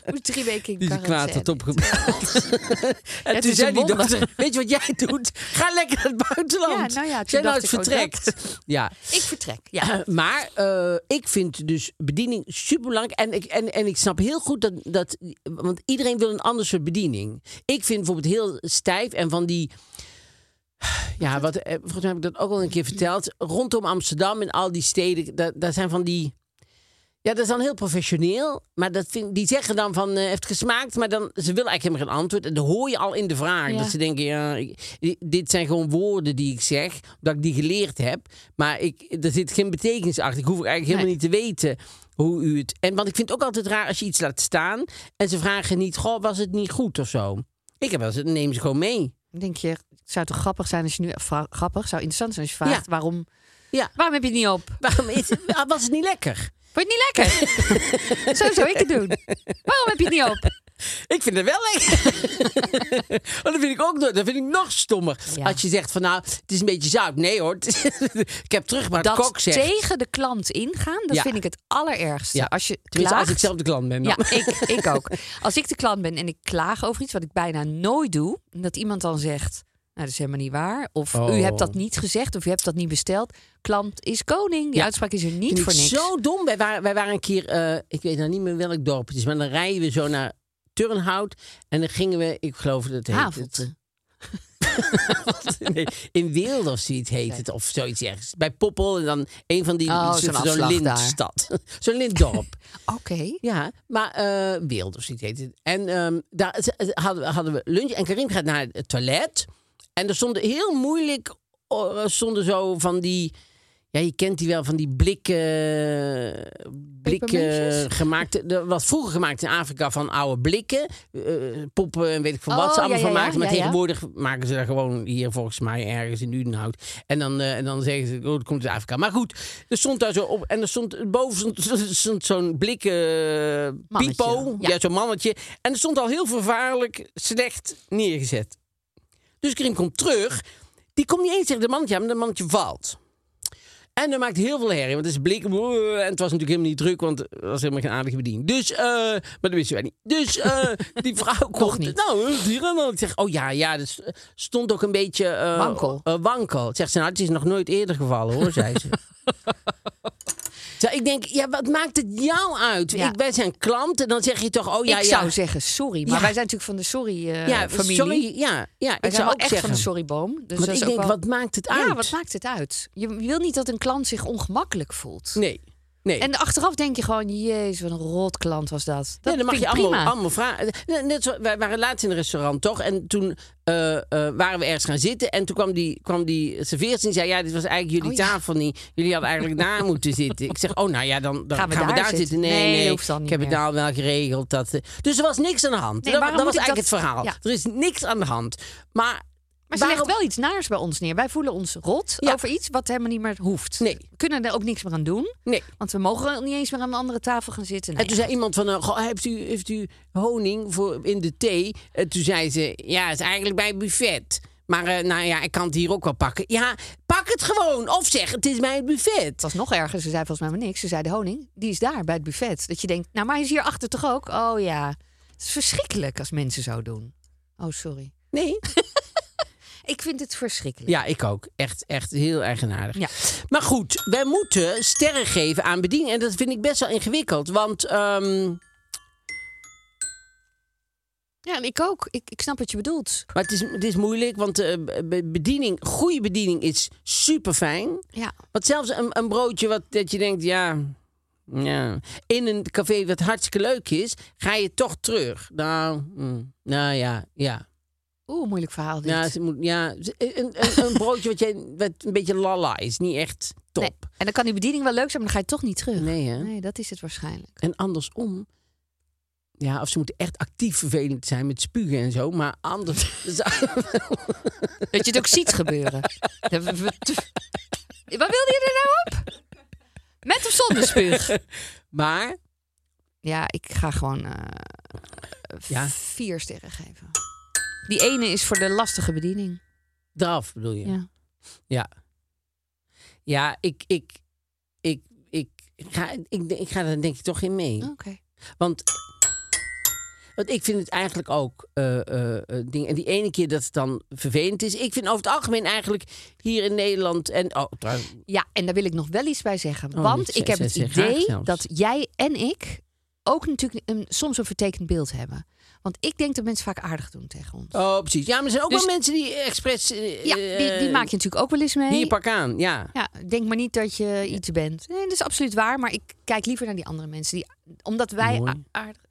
D: Moet drie weken in
B: Die ze
D: quarantaine.
B: kwaad had opgebeld. en
D: Het
B: toen
D: is
B: zei
D: een
B: die
D: wonder.
B: dokter, weet je wat jij doet? Ga lekker naar het buitenland.
D: Ja, nou ja, toen
B: Jij nou het
D: dacht ik ook
B: vertrekt. Ja.
D: Ik vertrek. Ja.
B: Maar eh, ik vind dus bediening superbelangrijk. En ik, en, en ik snap heel goed dat, dat... Want iedereen wil een ander soort bediening. Ik vind bijvoorbeeld heel stijf en van die... Ja, wat, eh, volgens mij heb ik dat ook al een keer verteld. Rondom Amsterdam en al die steden, daar, daar zijn van die... Ja, dat is dan heel professioneel. Maar dat vind, die zeggen dan van, eh, heeft het gesmaakt? Maar dan, ze willen eigenlijk helemaal geen antwoord. En dan hoor je al in de vraag.
D: Ja.
B: Dat ze denken, ja, ik- i- dit zijn gewoon woorden die ik zeg. Omdat ik die geleerd heb. Maar ik, er zit geen betekenis achter. Ik hoef eigenlijk helemaal
D: Nee.
B: niet te weten hoe u het... En, want ik vind het ook altijd raar als je iets laat staan. En ze vragen niet, goh, was het niet goed of zo? Ik heb wel eens, neem ze gewoon mee.
D: Dan denk je, het zou toch grappig zijn als je nu... vra- Grappig, zou interessant zijn als je vraagt
B: Ja.
D: waarom...
B: Ja.
D: Waarom heb je het niet op?
B: Waarom is het, ah, was het niet lekker?
D: Vond je het niet lekker? zo zou ik het doen. Waarom heb je het niet op?
B: Ik vind het wel lekker. oh, dat vind ik ook nooit. Dat vind ik nog stommer.
D: Ja.
B: Als je zegt van nou, het is een beetje zout. Nee hoor, het is- ik heb terug maar
D: Dat
B: kok zegt.
D: tegen de klant ingaan, dat
B: Ja.
D: vind ik het allerergste.
B: Ja.
D: Als je
B: Tenminste, als ik
D: klaagt-
B: zelf de klant ben. dan.
D: Ja, ik, ik ook. Als ik de klant ben en ik klaag over iets wat ik bijna nooit doe, en dat iemand dan zegt: "Nou, dat is helemaal niet waar. Of
B: Oh.
D: u hebt dat niet gezegd of u hebt dat niet besteld. Klant is koning. Die
B: Ja.
D: uitspraak is er niet
B: Vind
D: voor
B: ik
D: niks.
B: Zo dom. Wij waren, wij waren een keer, eh, ik weet nou niet meer welk dorp het is, maar dan rijden we zo naar Turnhout en dan gingen we, ik geloof dat het heet
D: Havelte.
B: het. Nee, in Weelde of zoiets heet het, of zoiets ergens. Bij Poppel en dan een van die
D: Oh,
B: zo'n-
D: zo'n
B: zo'n
D: afslag
B: lintstad. zo'n lintdorp.
D: Oké.
B: Ja, maar eh Weelde of zoiets heet het. En ehm, daar z- z- hadden we, hadden we lunch. En Karim gaat naar het toilet. En er stonden heel moeilijk... eh, stonden zo van die... Ja, je kent die wel, van die blikken... Blikken
D: Pepermuntjes?
B: gemaakt... Er was vroeger gemaakt in Afrika van oude blikken. eh, poppen en weet ik van
D: Oh,
B: wat ze allemaal
D: ja, ja,
B: van
D: ja,
B: maken. maar
D: ja, ja.
B: tegenwoordig maken ze daar gewoon hier volgens mij ergens in Udenhout. En dan, eh, en dan zeggen ze, oh, het komt uit Afrika. Maar goed, er stond daar zo op. En er stond boven stond- stond zo'n blikken eh,
D: Mannetje,
B: pipo. Ja,
D: ja.
B: zo'n mannetje. En er stond al heel vervaarlijk slecht neergezet. Dus Karim komt terug. Die komt niet eens tegen de mannetje aan, maar dat mannetje valt. En dat maakt heel veel herrie, want het is blik. En het was natuurlijk helemaal niet druk, want er was helemaal geen aardige bediening. Dus, eh, maar dat wisten wij niet. Dus eh, die vrouw kocht
D: niet.
B: Nou, eh, die ran dan. Ik zeg, oh ja, ja, dat stond ook een beetje... eh,
D: Wankel.
B: eh, wankel. Zegt ze, nou, het is nog nooit eerder gevallen, hoor, zei ze. Terwijl ik denk, ja, wat maakt het jou uit?
D: Ja.
B: Ik, wij zijn klant en dan zeg je toch, oh ja,
D: ik
B: ja.
D: zou zeggen sorry, maar
B: Ja.
D: wij zijn natuurlijk van de sorry eh
B: ja,
D: familie.
B: sorry, ja, ja
D: Wij
B: ik
D: zijn
B: zou
D: wel
B: ook
D: echt
B: zeggen.
D: van de sorryboom. Dus
B: Want
D: dat
B: ik
D: is ook
B: denk,
D: wel-
B: wat maakt het uit?
D: Ja, wat maakt het uit? Je wil niet dat een klant zich ongemakkelijk voelt.
B: Nee, nee.
D: En achteraf denk je gewoon, jezus, wat een rot klant was dat. Dat
B: Ja, dan mag
D: vind
B: je
D: ik
B: allemaal,
D: prima.
B: allemaal vragen. Net, net zo, wij waren laatst in een restaurant, toch? En toen eh, eh, waren we ergens gaan zitten. En toen kwam die, kwam die serveerster en zei... Ja, dit was eigenlijk jullie
D: Oh, ja.
B: tafel niet. Jullie hadden eigenlijk daar moeten zitten. Ik zeg, oh, nou ja, dan, dan gaan we daar, zitten. Nee,
D: Nee,
B: nee,
D: hoeft dan niet
B: Ik heb het
D: meer.
B: nou wel geregeld. Dat, eh, dus er was niks aan de hand.
D: Nee,
B: dat
D: waarom
B: dat was
D: moet ik
B: eigenlijk
D: dat-
B: het verhaal.
D: Ja.
B: Er is niks aan de hand. Maar
D: Maar ze legt
B: waarom-
D: wel iets naars bij ons neer. Wij voelen ons rot
B: Ja.
D: over iets wat helemaal niet meer hoeft.
B: Nee.
D: We kunnen er ook niks meer aan doen.
B: Nee.
D: Want we mogen niet eens meer aan een andere tafel gaan zitten.
B: En toen zei iemand van, eh, goh, heeft, u, heeft u honing voor in de thee? En toen zei ze, ja, het is eigenlijk bij het buffet. Maar eh, nou ja, ik kan het hier ook wel pakken. Ja, pak het gewoon. Of zeg, het is bij het buffet.
D: Het was nog erger. Ze zei volgens mij maar niks. Ze zei de honing, die is daar bij het buffet. Dat je denkt, nou maar hij is hier achter toch ook? Oh ja. Het is verschrikkelijk als mensen zo doen. Oh sorry.
B: Nee?
D: Ik vind het verschrikkelijk.
B: Ja, ik ook. Echt, echt heel eigenaardig.
D: Ja.
B: Maar goed, wij moeten sterren geven aan bediening. En dat vind ik best wel ingewikkeld. Want ehm,
D: Ja, en ik ook. Ik, ik snap wat je bedoelt.
B: maar het, is, het is moeilijk, want eh, be- bediening, goede bediening is super fijn.
D: Ja.
B: Want zelfs een, een broodje wat, dat je denkt, ja, ja. In een café wat hartstikke leuk is, ga je toch terug. Nou, mm, nou ja, ja.
D: Oeh, moeilijk verhaal dit.
B: Nou, ze moet, ja ze- een, een, een broodje wat, jij, wat een beetje lala is, niet echt
D: Nee.
B: top.
D: En dan kan die bediening wel leuk zijn, maar dan ga je toch niet terug.
B: Nee, hè?
D: Nee, dat is het waarschijnlijk.
B: En andersom, ja, of ze moeten echt actief vervelend zijn met spugen en zo, maar anders...
D: Dat je het ook ziet gebeuren. Dat we- we- te- Wat wilde je er nou op? Met of zonder spuug?
B: maar,
D: Ja, ik ga gewoon eh,
B: Ja.
D: vier sterren geven. Die ene is voor de lastige bediening.
B: draf bedoel je?
D: Ja.
B: Ja. Ja, ik, ik, ik, ik, ga, ik, ik ga daar denk ik toch in mee.
D: Oké.
B: Want, want ik vind het eigenlijk ook eh, eh, eh, ding. En die ene keer dat het dan vervelend is. Ik vind over het algemeen eigenlijk hier in Nederland. En, oh, trouwens,
D: Ja, en daar wil ik nog wel iets bij zeggen.
B: Oh,
D: want
B: dit
D: ik heb
B: zei-
D: het
B: zei ze graag
D: idee
B: zelfs.
D: dat jij en ik ook natuurlijk een, soms een vertekend beeld hebben. Want ik denk dat mensen vaak aardig doen tegen ons.
B: oh, precies. Ja, maar er zijn ook
D: Dus-
B: wel mensen die expres. eh,
D: ja, die, die
B: eh,
D: maak je natuurlijk ook wel eens mee.
B: Hier pak aan, ja.
D: Ja, denk maar niet dat je iets bent. Nee, dat is absoluut waar. Maar ik kijk liever naar die andere mensen. Die, omdat wij
B: Mooi.
D: a- aardig...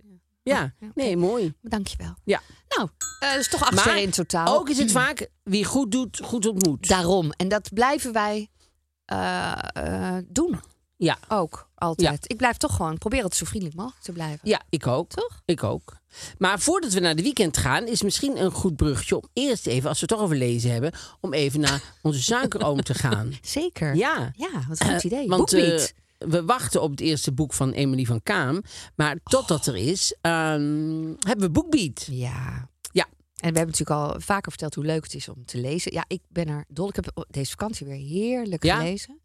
B: Ja,
D: Oh, oké.
B: nee, mooi.
D: Dankjewel.
B: Ja.
D: Nou, eh, dat is toch acht sterren in totaal.
B: ook is het vaak wie goed doet, goed ontmoet.
D: Daarom. En dat blijven wij eh, eh, doen.
B: ja.
D: Ook, altijd. Ik blijf toch gewoon proberen het zo vriendelijk mogelijk te blijven.
B: Ja, ik ook.
D: Toch?
B: Ik ook. Maar voordat we naar de weekend gaan, is misschien een goed bruggetje om eerst even, als we het toch over lezen hebben, om even naar onze suikeroom te gaan.
D: Zeker.
B: Ja.
D: Ja, wat een goed
B: Eh,
D: idee.
B: Want eh,
D: Boekbeat.
B: we wachten op het eerste boek van Emily van Kaam. Maar totdat er is, ehm, hebben we Boekbeat.
D: eh, ja.
B: Ja.
D: En we hebben natuurlijk al vaker verteld hoe leuk het is om te lezen. Ja, ik ben er dol. Ik heb deze vakantie weer heerlijk
B: Ja?
D: gelezen.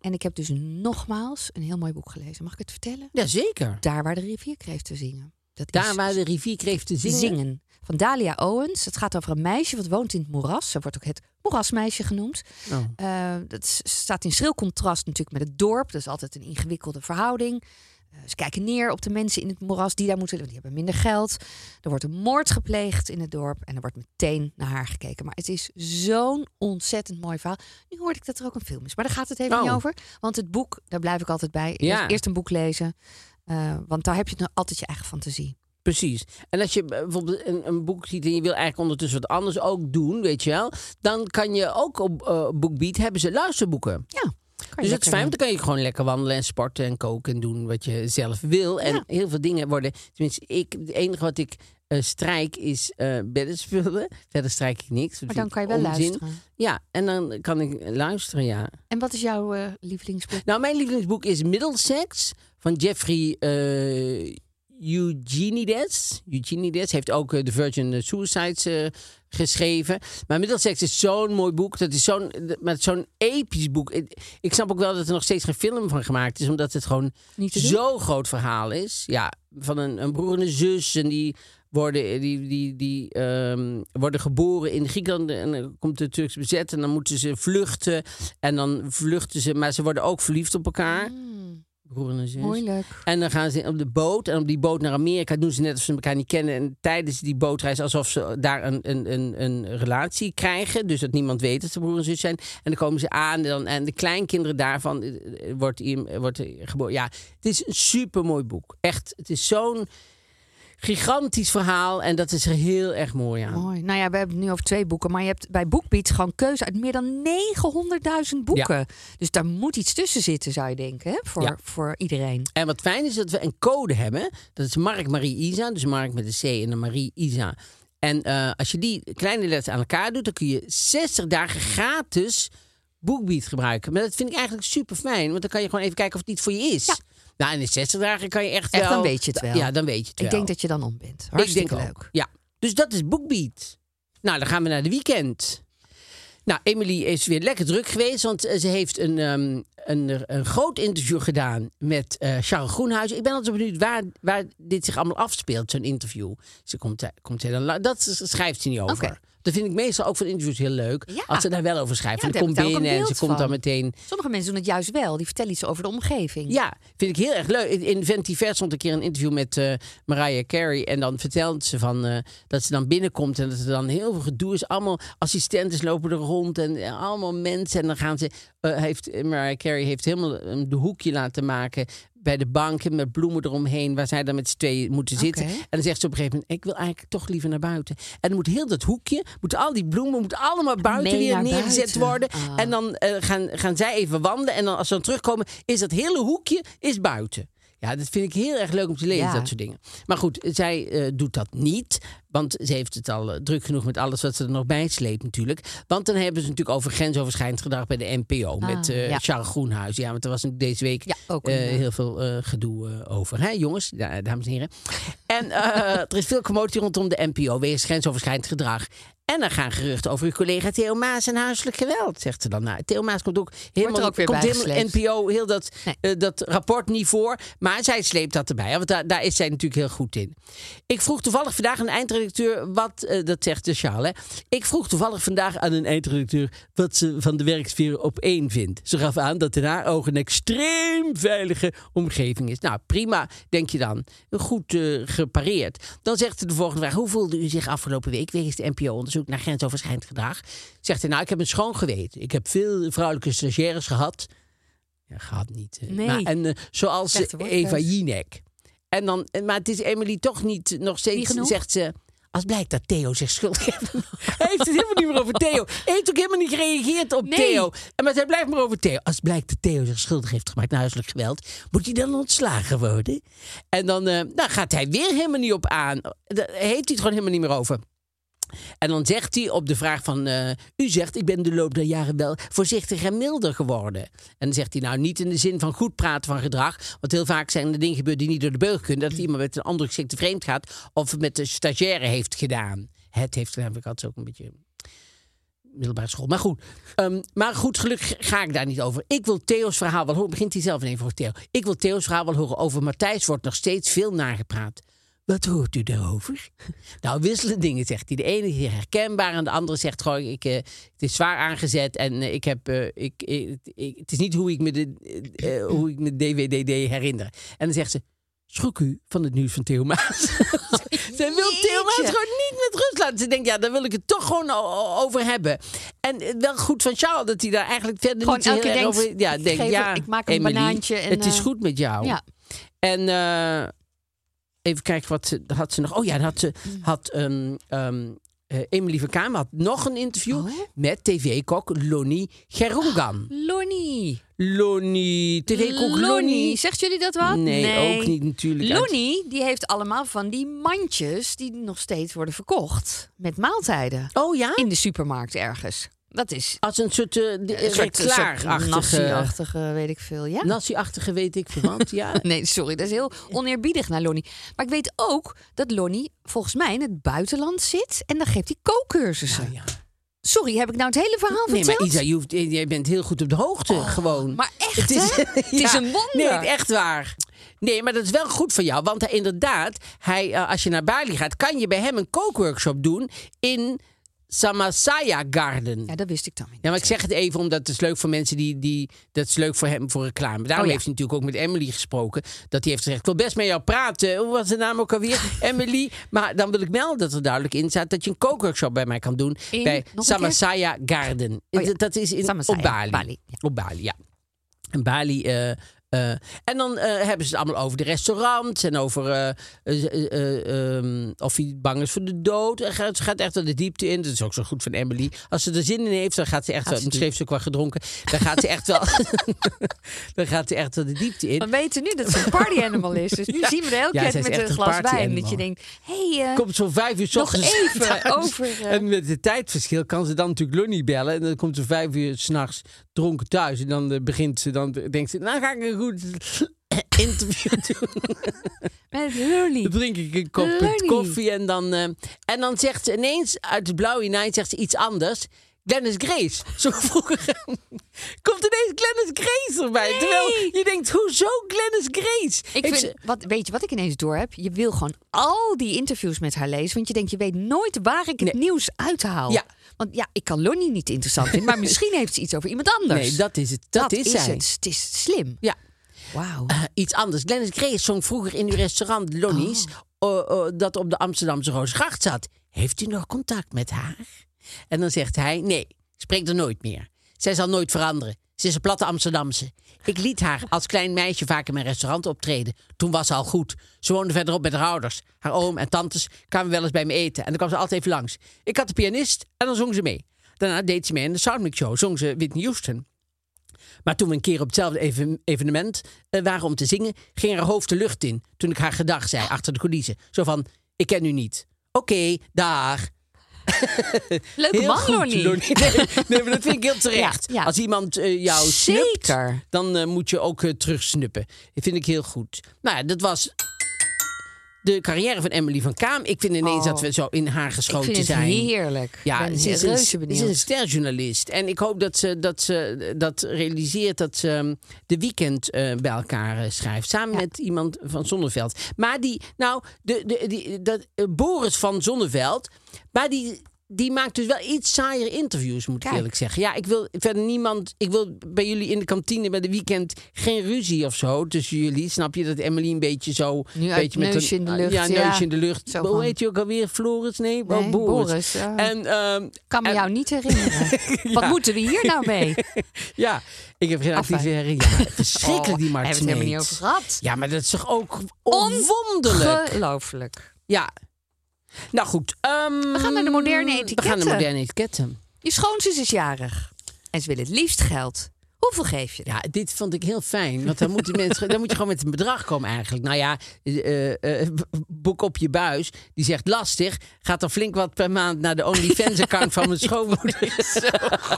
D: En ik heb dus nogmaals een heel mooi boek gelezen. Mag ik het vertellen?
B: Jazeker.
D: Daar waar de rivier kreeg te zingen. Dat
B: Daar
D: is
B: waar de rivier kreeg te zingen.
D: Dus- zingen. Van van Dalia Owens. Het gaat over een meisje wat woont in het moeras. Ze wordt ook het moerasmeisje genoemd.
B: Oh.
D: Eh, dat s- staat in schril contrast natuurlijk met het dorp. Dat is altijd een ingewikkelde verhouding. Eh, ze kijken neer op de mensen in het moeras die daar moeten leven. want Die hebben minder geld. Er wordt een moord gepleegd in het dorp. En er wordt meteen naar haar gekeken. Maar het is zo'n ontzettend mooi verhaal. Nu hoorde ik dat er ook een film is. Maar daar gaat het even
B: Oh.
D: niet over. Want het boek, daar blijf ik altijd bij.
B: Ja.
D: Eerst- Eerst een boek lezen. eh, want daar heb je dan altijd je eigen fantasie.
B: Precies. En als je bijvoorbeeld een, een boek ziet en je wil eigenlijk ondertussen wat anders ook doen, weet je wel, dan kan je ook op eh BookBeat hebben ze luisterboeken.
D: Ja. kan je
B: Dus dat
D: lekker eh,
B: is fijn, want
D: doen.
B: dan kan je gewoon lekker wandelen en sporten en koken en doen wat je zelf wil. En heel veel dingen worden, tenminste, ik, het enige wat ik eh, strijk is eh beddenspullen. Verder strijk ik niks. dat
D: Maar dan
B: vind
D: kan je
B: ik
D: wel
B: onzin.
D: luisteren.
B: Ja, en dan kan ik luisteren, ja.
D: En wat is jouw eh, lievelingsboek?
B: Nou, mijn lievelingsboek is Middlesex van Jeffrey eh Eugenides. Eugenides heeft ook eh, The Virgin Suicides eh, geschreven. Maar Middlesex is zo'n mooi boek. Dat is zo'n, met zo'n episch boek. Ik, ik snap ook wel dat er nog steeds geen film van gemaakt is, omdat het gewoon
D: Niet te doen.
B: zo'n groot verhaal is. Ja, van een, een broer en een zus en die worden, die, die, die, ehm, worden geboren in Griekenland en dan komt de Turks bezet en dan moeten ze vluchten en dan vluchten ze, maar ze worden ook verliefd op elkaar.
D: Mm.
B: Broer en een zus.
D: Moeilijk.
B: En dan gaan ze op de boot. En op die boot naar Amerika doen ze net alsof ze elkaar niet kennen. En tijdens die bootreis alsof ze daar een, een, een, een relatie krijgen. Dus dat niemand weet dat ze broer en zus zijn. En dan komen ze aan. En, dan, en de kleinkinderen daarvan eh, eh, wordt, im- eh, wordt eh, geboren. Ja, het is een supermooi boek. Echt, het is zo'n gigantisch verhaal. En dat is er heel erg mooi aan.
D: Mooi. Nou ja, we hebben het nu over twee boeken. Maar je hebt bij BookBeat gewoon keuze uit meer dan 900.000 boeken. Dus daar moet iets tussen zitten, zou je denken. Hè? Voor,
B: Ja.
D: voor iedereen.
B: En wat fijn is dat we een code hebben. Dat is Mark Marie Isa. Dus Mark met een C en een Marie Isa. En eh, als je die kleine letters aan elkaar doet, dan kun je 60 dagen gratis BookBeat gebruiken. Maar dat vind ik eigenlijk super fijn, want dan kan je gewoon even kijken of het iets voor je is. Nou, en in 60 dagen kan je echt,
D: Echt,
B: wel...
D: dan weet je het wel.
B: Ja, dan weet je het wel.
D: Ik denk dat je dan om bent.
B: Ik
D: Hartstikke
B: denk ook.
D: leuk.
B: Ja. Dus dat is BookBeat. Nou, dan gaan we naar de weekend. Nou, Emily is weer lekker druk geweest, want eh, ze heeft een, ehm, een, een groot interview gedaan met eh Charles Groenhuis. Ik ben altijd benieuwd waar, waar dit zich allemaal afspeelt, zo'n interview. Ze komt, eh, komt heel lang, dat s- schrijft ze niet over.
D: Oké.
B: Dat vind ik meestal ook van interviews heel leuk.
D: Ja.
B: Als ze daar wel over schrijft.
D: Ja,
B: Want ze
D: daar
B: komt
D: heb ik ook een
B: binnen en ze
D: beeld
B: komt dan
D: van.
B: meteen
D: Sommige mensen doen het juist wel. Die vertellen iets over de omgeving.
B: ja, vind ik heel erg leuk. In- In Ventivers stond een keer een interview met eh, Mariah Carey. En dan vertelt ze van, eh, dat ze dan binnenkomt en dat er dan heel veel gedoe is. Allemaal assistenten lopen er rond en eh, allemaal mensen. En dan gaan ze, eh, heeft, eh, Mariah Carey heeft helemaal een de hoekje laten maken bij de banken met bloemen eromheen, waar zij dan met z'n tweeën moeten zitten.
D: Oké.
B: En dan zegt ze op een gegeven moment, ik wil eigenlijk toch liever naar buiten. En dan moet heel dat hoekje, moeten al die bloemen, moeten allemaal buiten
D: Mee
B: weer
D: naar
B: neergezet
D: buiten.
B: worden.
D: Ah.
B: En dan eh, gaan, gaan zij even wandelen. En dan als ze dan terugkomen, is dat hele hoekje is buiten. Ja, dat vind ik heel erg leuk om te lezen,
D: Ja.
B: dat soort dingen. Maar goed, zij eh, doet dat niet. Want ze heeft het al eh, druk genoeg met alles wat ze er nog bij sleept natuurlijk. Want dan hebben ze natuurlijk over grensoverschrijdend gedrag bij de NPO. met eh,
D: Ah, ja.
B: Charles Groenhuis. Ja, want er was natuurlijk deze week
D: Ja, ook
B: eh,
D: een, eh,
B: heel veel eh, gedoe eh, over. Hè, jongens, Ja, dames en heren. En eh, er is veel commotie rondom de NPO. Wegens grensoverschrijdend gedrag. En er gaan geruchten over uw collega Theo Maas en huiselijk geweld, zegt ze dan. Nou, Theo Maas komt ook helemaal,
D: ook weer
B: komt helemaal
D: bijgesleept.
B: NPO, heel dat,
D: Nee.
B: eh, dat rapport niet voor. Maar zij sleept dat erbij, hè, want daar, daar is zij natuurlijk heel goed in. Ik vroeg toevallig vandaag aan de eindredacteur wat, eh, dat zegt de Sjaal, hè. Ik vroeg toevallig vandaag aan een eindredacteur wat ze van de werksfeer op één vindt. Ze gaf aan dat in haar ogen een extreem veilige omgeving is. Nou, prima, denk je dan. Goed eh, gepareerd. Dan zegt ze de volgende vraag. Hoe voelde u zich afgelopen week wegens het NPO-onderzoek naar grensoverschrijdend gedrag? Zegt hij, nou, ik heb een schoon geweten. Ik heb veel vrouwelijke stagiaires gehad. Ja, gehad niet. eh.
D: Nee.
B: Maar, en eh, zoals
D: Slechte
B: eh,
D: woordkeus.
B: Eva Jinek. En dan, eh, maar het is Emily toch niet, nog
D: Niet
B: steeds,
D: genoeg?
B: zegt ze... Als blijkt dat Theo zich schuldig heeft. Hij heeft het helemaal niet meer over Theo. Hij heeft ook helemaal niet gereageerd op
D: Nee.
B: Oh, Theo. En maar hij blijft maar over Theo. Als blijkt dat Theo zich schuldig heeft gemaakt naar huiselijk geweld, moet hij dan ontslagen worden? En dan eh, nou gaat hij weer helemaal niet op aan. Eh, Daar heeft hij het gewoon helemaal niet meer over. En dan zegt hij op de vraag van... eh, u zegt, ik ben de loop der jaren wel voorzichtig en milder geworden. En dan zegt hij, nou niet in de zin van goed praten van gedrag. Want heel vaak zijn er dingen gebeurd die niet door de beugel kunnen. Dat iemand met een ander gezicht te vreemd gaat. Of het met de stagiaire heeft gedaan. Het heeft gedaan, vind ik altijd ook een beetje... Middelbare school. Maar goed, Ehm, maar goed, gelukkig ga ik daar niet over. Ik wil Theo's verhaal wel horen. Begint hij zelf in even voor Theo. Ik wil Theo's verhaal wel horen. Over Matthijs wordt nog steeds veel nagepraat. Wat hoort u daarover? nou, wisselen dingen, zegt hij. De ene is herkenbaar en de andere zegt gewoon... Ik, eh, het is zwaar aangezet en eh, ik heb, eh, ik, ik, ik- het is niet hoe ik, me de, eh, eh, hoe ik me DWDD herinner. En dan zegt ze... Schrok u van het nieuws van Theo Maas. Zij wil Theo Maas
D: Jeetje.
B: gewoon niet met rust laten. Ze denkt, ja, daar wil ik het toch gewoon o- o- over hebben. En eh, wel goed van Charles dat hij daar eigenlijk verder
D: Gewoon
B: niet zo
D: elke
B: heel erg
D: denkt,
B: over... Ja,
D: ik
B: denkt,
D: geef-
B: ja,
D: ik maak een
B: Emily,
D: banaantje en,
B: het is
D: eh,
B: goed met jou.
D: Ja.
B: En eh, even kijken wat ze, had ze nog. Oh ja, dan had ze had ehm, ehm, eh, Emily van Kamer had nog een interview
D: Oh.
B: met tv-kok Lonnie Geroegan.
D: Lonnie.
B: Lonnie, tv-kok Lonnie.
D: Ah. Lonnie. Zegt jullie dat wat?
B: Nee, ook niet natuurlijk.
D: Lonnie, die heeft allemaal van die mandjes die nog steeds worden verkocht. Met maaltijden.
B: Oh ja,
D: In de supermarkt ergens. Dat is
B: als een soort, eh, de-
D: een soort een soort
B: reclaarachtige...
D: nasi-achtige, weet ik veel. Ja.
B: Nazi-achtige weet ik veel wat, ja.
D: Nee, sorry, dat is heel oneerbiedig naar Lonnie. Maar ik weet ook dat Lonnie volgens mij in het buitenland zit en dan geeft hij kookcursussen.
B: ja.
D: Sorry, heb ik nou het hele verhaal
B: Nee, maar
D: verteld?
B: Isa, je hoeft, eh, jij bent heel goed op de hoogte gewoon.
D: maar echt, hè? Het is een wonder.
B: Nee, echt waar. Nee, maar dat is wel goed van jou. Want hij, inderdaad, hij, eh, als je naar Bali gaat... kan je bij hem een kookworkshop doen in Samasaya Garden.
D: Ja, dat wist ik dan weer niet.
B: Ja, maar ik zeg het even omdat het is leuk voor mensen die... die dat is leuk voor hem voor reclame. Daarom
D: Oh, ja.
B: heeft hij natuurlijk ook met Emily gesproken. Dat hij heeft gezegd, ik wil best met jou praten. Hoe was de naam ook alweer? Emily. Maar dan wil ik melden dat er duidelijk in staat... dat je een kookworkshop bij mij kan doen.
D: In- nog
B: bij
D: een keer?
B: Samasaya Garden.
D: Oh, ja.
B: Dat is in,
D: Samasaya,
B: op Bali.
D: Bali, ja.
B: Op Bali, ja. En Bali... eh, eh, en dan eh, hebben ze het allemaal over de restaurants en over eh, eh, eh, ehm, of hij bang is voor de dood. En gaat, ze gaat echt wel de diepte in. Dat is ook zo goed van Emily. Als ze er zin in heeft, dan gaat ze echt wel. Misschien heeft ze ook wel gedronken. Dan gaat ze echt wel. dan gaat ze echt wel de diepte in.
D: We weten nu dat ze een party animal is. Dus nu
B: Ja.
D: zien we de hele
B: Ja,
D: tijd
B: zij is
D: met
B: echt
D: een
B: een
D: glas
B: party
D: wijn. Dat
B: animal.
D: je denkt, hé, hey, eh,
B: Komt zo vijf uur 's
D: Nog
B: ochtends
D: even
B: thuis.
D: over, eh.
B: En met het tijdverschil kan ze dan natuurlijk Lonnie bellen. En dan komt ze vijf uur s'nachts dronken thuis. En dan eh, begint ze, dan denkt ze, nou ga ik een goed interview doen.
D: met Hurley.
B: Dan drink ik een kop
D: Lonnie.
B: koffie en dan, eh, en dan zegt ze ineens uit de blauwe night zegt ze iets anders. Glennis Grace, zo vroeger. Komt ineens Glennis Grace erbij. Terwijl je denkt, hoezo Glennis Grace?
D: Ik
B: Heeft
D: vind,
B: ze-
D: wat, weet je wat ik ineens door heb? Je wil gewoon al die interviews met haar lezen. Want je denkt, je weet nooit waar ik het nieuws uithaal.
B: Ja.
D: Want ja, ik kan Lonnie niet interessant vinden. Maar misschien heeft ze iets over iemand anders.
B: nee, dat is het. Dat, is, zij.
D: het. Het is slim.
B: Ja,
D: Wauw.
B: eh, iets anders. Glennis Grace zong vroeger in uw restaurant Lonnie's... eh, eh, dat op de Amsterdamse Roosgracht zat. Heeft u nog contact met haar? En dan zegt hij, nee, spreek er nooit meer. Zij zal nooit veranderen. Ze is een platte Amsterdamse. Ik liet haar als klein meisje vaak in mijn restaurant optreden. Toen was ze al goed. Ze woonde verderop met haar ouders. Haar oom en tantes kwamen wel eens bij me eten. En dan kwam ze altijd even langs. Ik had de pianist en dan zong ze mee. Daarna deed ze mee in de Soundmix Show. Zong ze Whitney Houston. Maar toen we een keer op hetzelfde even- evenement eh, waren om te zingen, ging haar hoofd de lucht in. Toen ik haar gedag zei achter de coulissen. Zo van: Ik ken u niet. Oké, dag.
D: Leuke
B: Heel
D: man,
B: goed,
D: Lonnie.
B: Nee, nee, maar dat vind ik heel terecht.
D: Ja, ja.
B: Als iemand eh, jou
D: Zeker.
B: snupt, dan eh, moet je ook eh, terugsnuppen. Dat vind ik heel goed. Nou ja, dat was de carrière van Emily van Kaam. Ik vind ineens
D: Oh.
B: dat we zo in haar
D: Ik
B: geschoten
D: vind het
B: zijn.
D: heerlijk. Ja, ben
B: ze is, een,
D: reuze
B: ze is
D: benieuwd.
B: een sterjournalist. En ik hoop dat ze dat, ze dat realiseert dat ze ehm, de weekend eh, bij elkaar eh, schrijft. Samen met iemand van Zonneveld. Maar die, nou, de, de, die, dat, eh, Boris van Zonneveld. Maar die, die maakt dus wel iets saaier interviews, moet ik
D: Kijk.
B: eerlijk zeggen. Ja, ik wil verder niemand. Ik wil bij jullie in de kantine bij de weekend geen ruzie of zo tussen jullie. Snap je dat Emily een beetje zo.
D: Nu uit
B: beetje met
D: neusje in de
B: een- eh,
D: lucht,
B: Ja, neusje
D: ja.
B: in de lucht.
D: Zo van-
B: Hoe heet je ook alweer? Floris? Nee,
D: Nee,
B: oh, Boris.
D: Boris, ja.
B: En ehm,
D: Kan me
B: en-
D: jou niet herinneren. Wat moeten we hier nou mee?
B: ja, ik heb geen
D: Afijn.
B: actieve herinnering. Ja, verschrikkelijk die
D: Oh,
B: Mart
D: hebben we het helemaal niet
B: Smeets.
D: over gehad.
B: Ja, maar dat is toch ook onwonderlijk.
D: Ongelooflijk.
B: ja. Nou goed. ehm,
D: We gaan naar de moderne
B: We gaan
D: etiketten.
B: naar moderne etiketten.
D: Je schoonzus is jarig. En ze wil het liefst geld. Hoeveel geef je?
B: Ja, dit vond ik heel fijn. Want dan moeten mensen, dan moet je gewoon met een bedrag komen eigenlijk. Nou ja, eh, eh, b- boek op je buis. Die zegt lastig. Gaat dan flink wat per maand naar de OnlyFans-account van mijn schoonmoeder.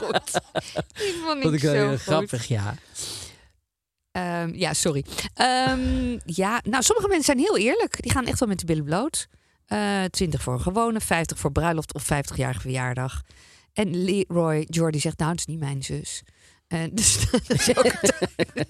D: goed. Die vond ik,
B: vond ik wel
D: zo
B: heel
D: goed.
B: grappig, ja.
D: Ehm, ja, sorry. Ehm, ja, nou, sommige mensen zijn heel eerlijk. Die gaan echt wel met de billen bloot. Eh 20 voor een gewone, 50 voor bruiloft of 50-jarige verjaardag. En Leroy Jordi zegt, nou, het is niet mijn zus. Eh, dus dat is ook het.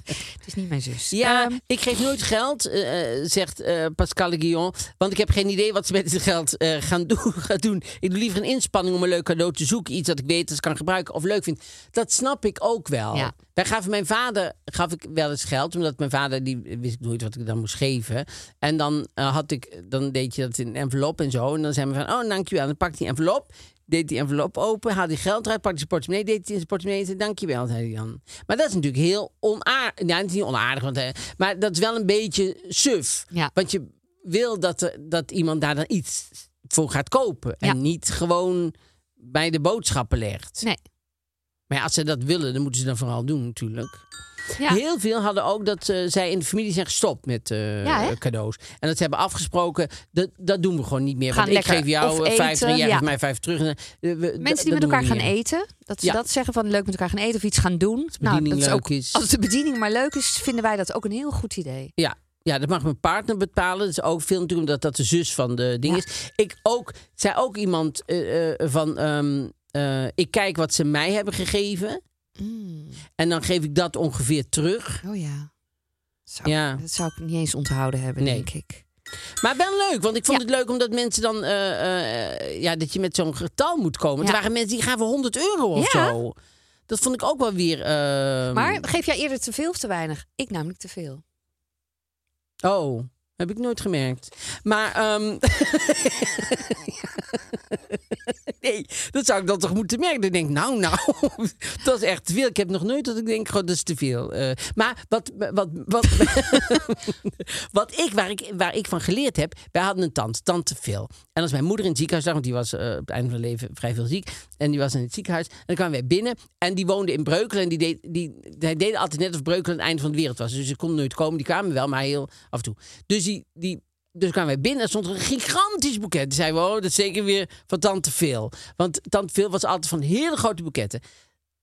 D: het is niet mijn zus.
B: Ja,
D: Ehm,
B: ik geef nooit geld, eh, eh, zegt eh, Pascal Guillon. Want ik heb geen idee wat ze met het geld eh, gaan, doen, gaan doen. Ik doe liever een inspanning om een leuk cadeau te zoeken. Iets dat ik weet dat ik kan gebruiken of leuk vind. Dat snap ik ook wel.
D: Ja.
B: Wij gaven mijn vader gaf ik wel eens geld. Omdat mijn vader, die wist ik nooit wat ik dan moest geven. En dan, eh, had ik, dan deed je dat in een envelop en zo. En dan zei we van, oh, dankjewel. En dan pakte die envelop. Deed die envelop open, haalde die geld eruit, pakte zijn portemonnee, deed het in zijn portemonnee en zei dankjewel, zei hij dan. Maar dat is natuurlijk heel onaardig. Nou, het is niet onaardig, want, eh, maar dat is wel een beetje suf.
D: Ja.
B: Want je wil dat, er- dat iemand daar dan iets voor gaat kopen.
D: Ja.
B: En niet gewoon bij de boodschappen legt.
D: nee.
B: Maar ja, als ze dat willen, dan moeten ze dat vooral doen natuurlijk.
D: Ja.
B: Heel veel hadden ook dat eh, zij in de familie zijn gestopt met eh,
D: Ja, hè?
B: cadeaus. En dat ze hebben afgesproken, dat, dat doen we gewoon niet meer.
D: Gaan
B: want
D: lekker
B: ik geef jou
D: of
B: eh, vijf
D: eten,
B: en jij
D: ja.
B: geeft mij vijf terug. En, eh, we- d- dat
D: Mensen die
B: doen
D: met
B: we
D: elkaar
B: niet
D: gaan
B: meer.
D: eten. Dat ze
B: Ja.
D: dat zeggen van leuk met elkaar gaan eten of iets gaan doen. nou, dat
B: bediening
D: is ook,
B: leuk is.
D: Als de bediening maar leuk is, vinden wij dat ook een heel goed idee.
B: Ja. Ja, dat mag mijn partner bepalen. Dat is ook veel natuurlijk, omdat dat de zus van de ding is. Ik ook, zei ook iemand eh, eh, van, ehm, eh, ik kijk wat ze mij hebben gegeven. En dan geef ik dat ongeveer terug.
D: Oh ja. Zou,
B: Ja.
D: Dat zou ik niet eens onthouden hebben,
B: Nee.
D: denk ik.
B: Maar wel leuk, want ik vond
D: Ja.
B: het leuk omdat mensen dan... eh, eh, eh, ja, dat je met zo'n getal moet komen.
D: Ja.
B: Het waren mensen die gaven 100 euro of
D: Ja.
B: zo. Dat vond ik ook wel weer... ehm,
D: Maar geef jij eerder te veel of te weinig? Ik namelijk te veel.
B: Oh, heb ik nooit gemerkt. Maar, ehm, nee, dat zou ik dan toch moeten merken. Dan denk ik, nou, nou, dat is echt te veel. Ik heb nog nooit dat ik denk, goh, dat is te veel. Eh, maar wat, wat, wat, wat ik, waar ik, waar ik van geleerd heb, wij hadden een tante, tante Phil. En als mijn moeder in het ziekenhuis lag, want die was eh, op het einde van haar leven vrij veel ziek. En die was in het ziekenhuis. En dan kwamen wij binnen. En die woonde in Breukelen. En die deed, die, hij deed altijd net of Breukelen het einde van de wereld was. Dus ze kon nooit komen. Die kwamen wel, maar heel af en toe. Dus die, die dus kwamen wij binnen en stond er een gigantisch boeket. Toen zeiden we, oh, dat is zeker weer van Tante Phil. Want Tante Phil was altijd van hele grote boeketten.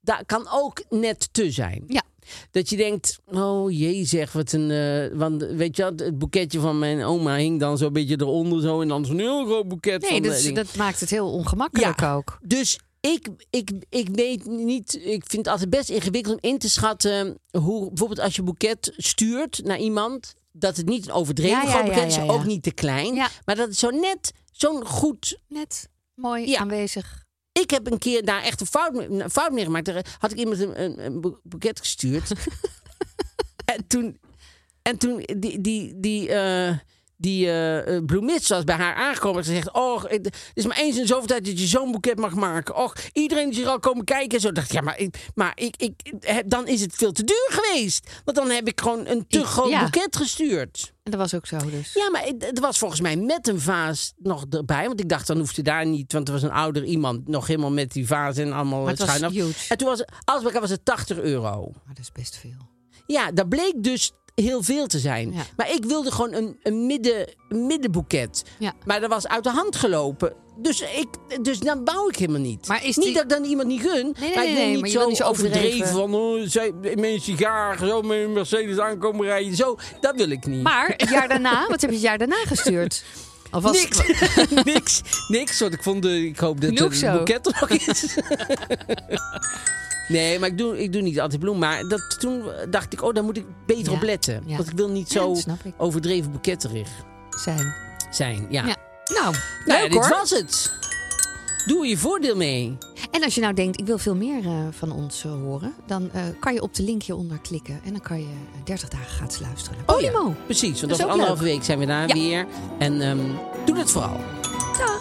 B: Daar kan ook net te zijn.
D: Ja.
B: Dat je denkt, oh jee zeg, wat een... eh, want weet je wat, het boeketje van mijn oma hing dan zo'n beetje eronder zo. En dan zo'n heel groot boeket.
D: Nee,
B: van,
D: dat,
B: eh,
D: is-
B: ding.
D: dat maakt het heel ongemakkelijk
B: Ja.
D: ook.
B: Dus ik, ik, ik weet niet, ik vind het altijd best ingewikkeld om in te schatten hoe bijvoorbeeld als je boeket stuurt naar iemand, dat het niet een overdreven
D: Ja, ja,
B: groot
D: ja,
B: boeket is,
D: ja, ja.
B: ook niet te klein,
D: Ja.
B: maar dat het zo net zo'n goed.
D: Net mooi
B: Ja.
D: aanwezig.
B: Ik heb een keer daar echt een fout, mee- een fout mee gemaakt. Daar had ik iemand een, een, een bo- boeket gestuurd. en toen, en toen die, die, die, eh, die eh, eh, bloemist was bij haar aangekomen. Ze zegt, oh, het is maar eens in zoveel tijd dat je zo'n boeket mag maken. Och, iedereen is hier al komen kijken. En zo dacht ik, ja, maar, ik, maar ik, ik, eh, dan is het veel te duur geweest. Want dan heb ik gewoon een te
D: Ik-
B: groot
D: ja.
B: boeket gestuurd.
D: En dat was ook zo dus.
B: Ja, maar het, het was volgens mij met een vaas nog erbij. Want ik dacht, dan hoefde daar niet. Want er was een ouder iemand nog helemaal met die vaas en allemaal
D: Maar het was
B: schuin af.
D: huge.
B: En toen was het- alles bij elkaar was het 80 euro.
D: Maar dat is best veel.
B: Ja, dat bleek dus heel veel te zijn.
D: Ja.
B: Maar ik wilde gewoon een, een, midden, een middenboeket.
D: Ja.
B: Maar dat was uit de hand gelopen. Dus, ik, dus dan bouw ik helemaal niet.
D: Maar is
B: Niet
D: die-
B: dat ik dan iemand niet gun.
D: nee,
B: maar ik wil
D: nee,
B: niet,
D: maar je
B: zo
D: wil niet zo overdreven.
B: van... Oh, zij, mijn sigaar, zo met een Mercedes aankomen rijden. Zo, dat wil ik niet.
D: Maar het jaar daarna, wat heb je het jaar daarna gestuurd? Of was
B: niks. niks. Niks. Want ik vond de, ik hoop dat
D: Genoeg
B: het
D: zo.
B: boeket er nog is. nee, maar ik doe, ik doe niet altijd bloem. Maar dat, toen dacht ik, oh, daar moet ik beter
D: Ja,
B: op letten.
D: ja.
B: Want ik wil niet
D: Ja,
B: zo
D: dat snap ik.
B: overdreven boeketterig
D: zijn?
B: zijn. Ja.
D: Ja. Nou,
B: Nou,
D: leuk
B: dit
D: hoor.
B: was het. Doe er je voordeel mee.
D: En als je nou denkt, ik wil veel meer eh, van ons eh, horen... dan eh, kan je op de link hieronder klikken... en dan kan je eh, 30 dagen gratis luisteren.
B: Oh ja.
D: Podimo.
B: Precies, want
D: Dat is
B: over
D: ook
B: anderhalve
D: leuk.
B: week zijn we daar
D: Ja.
B: weer. En ehm, doe dat vooral.
D: Dag.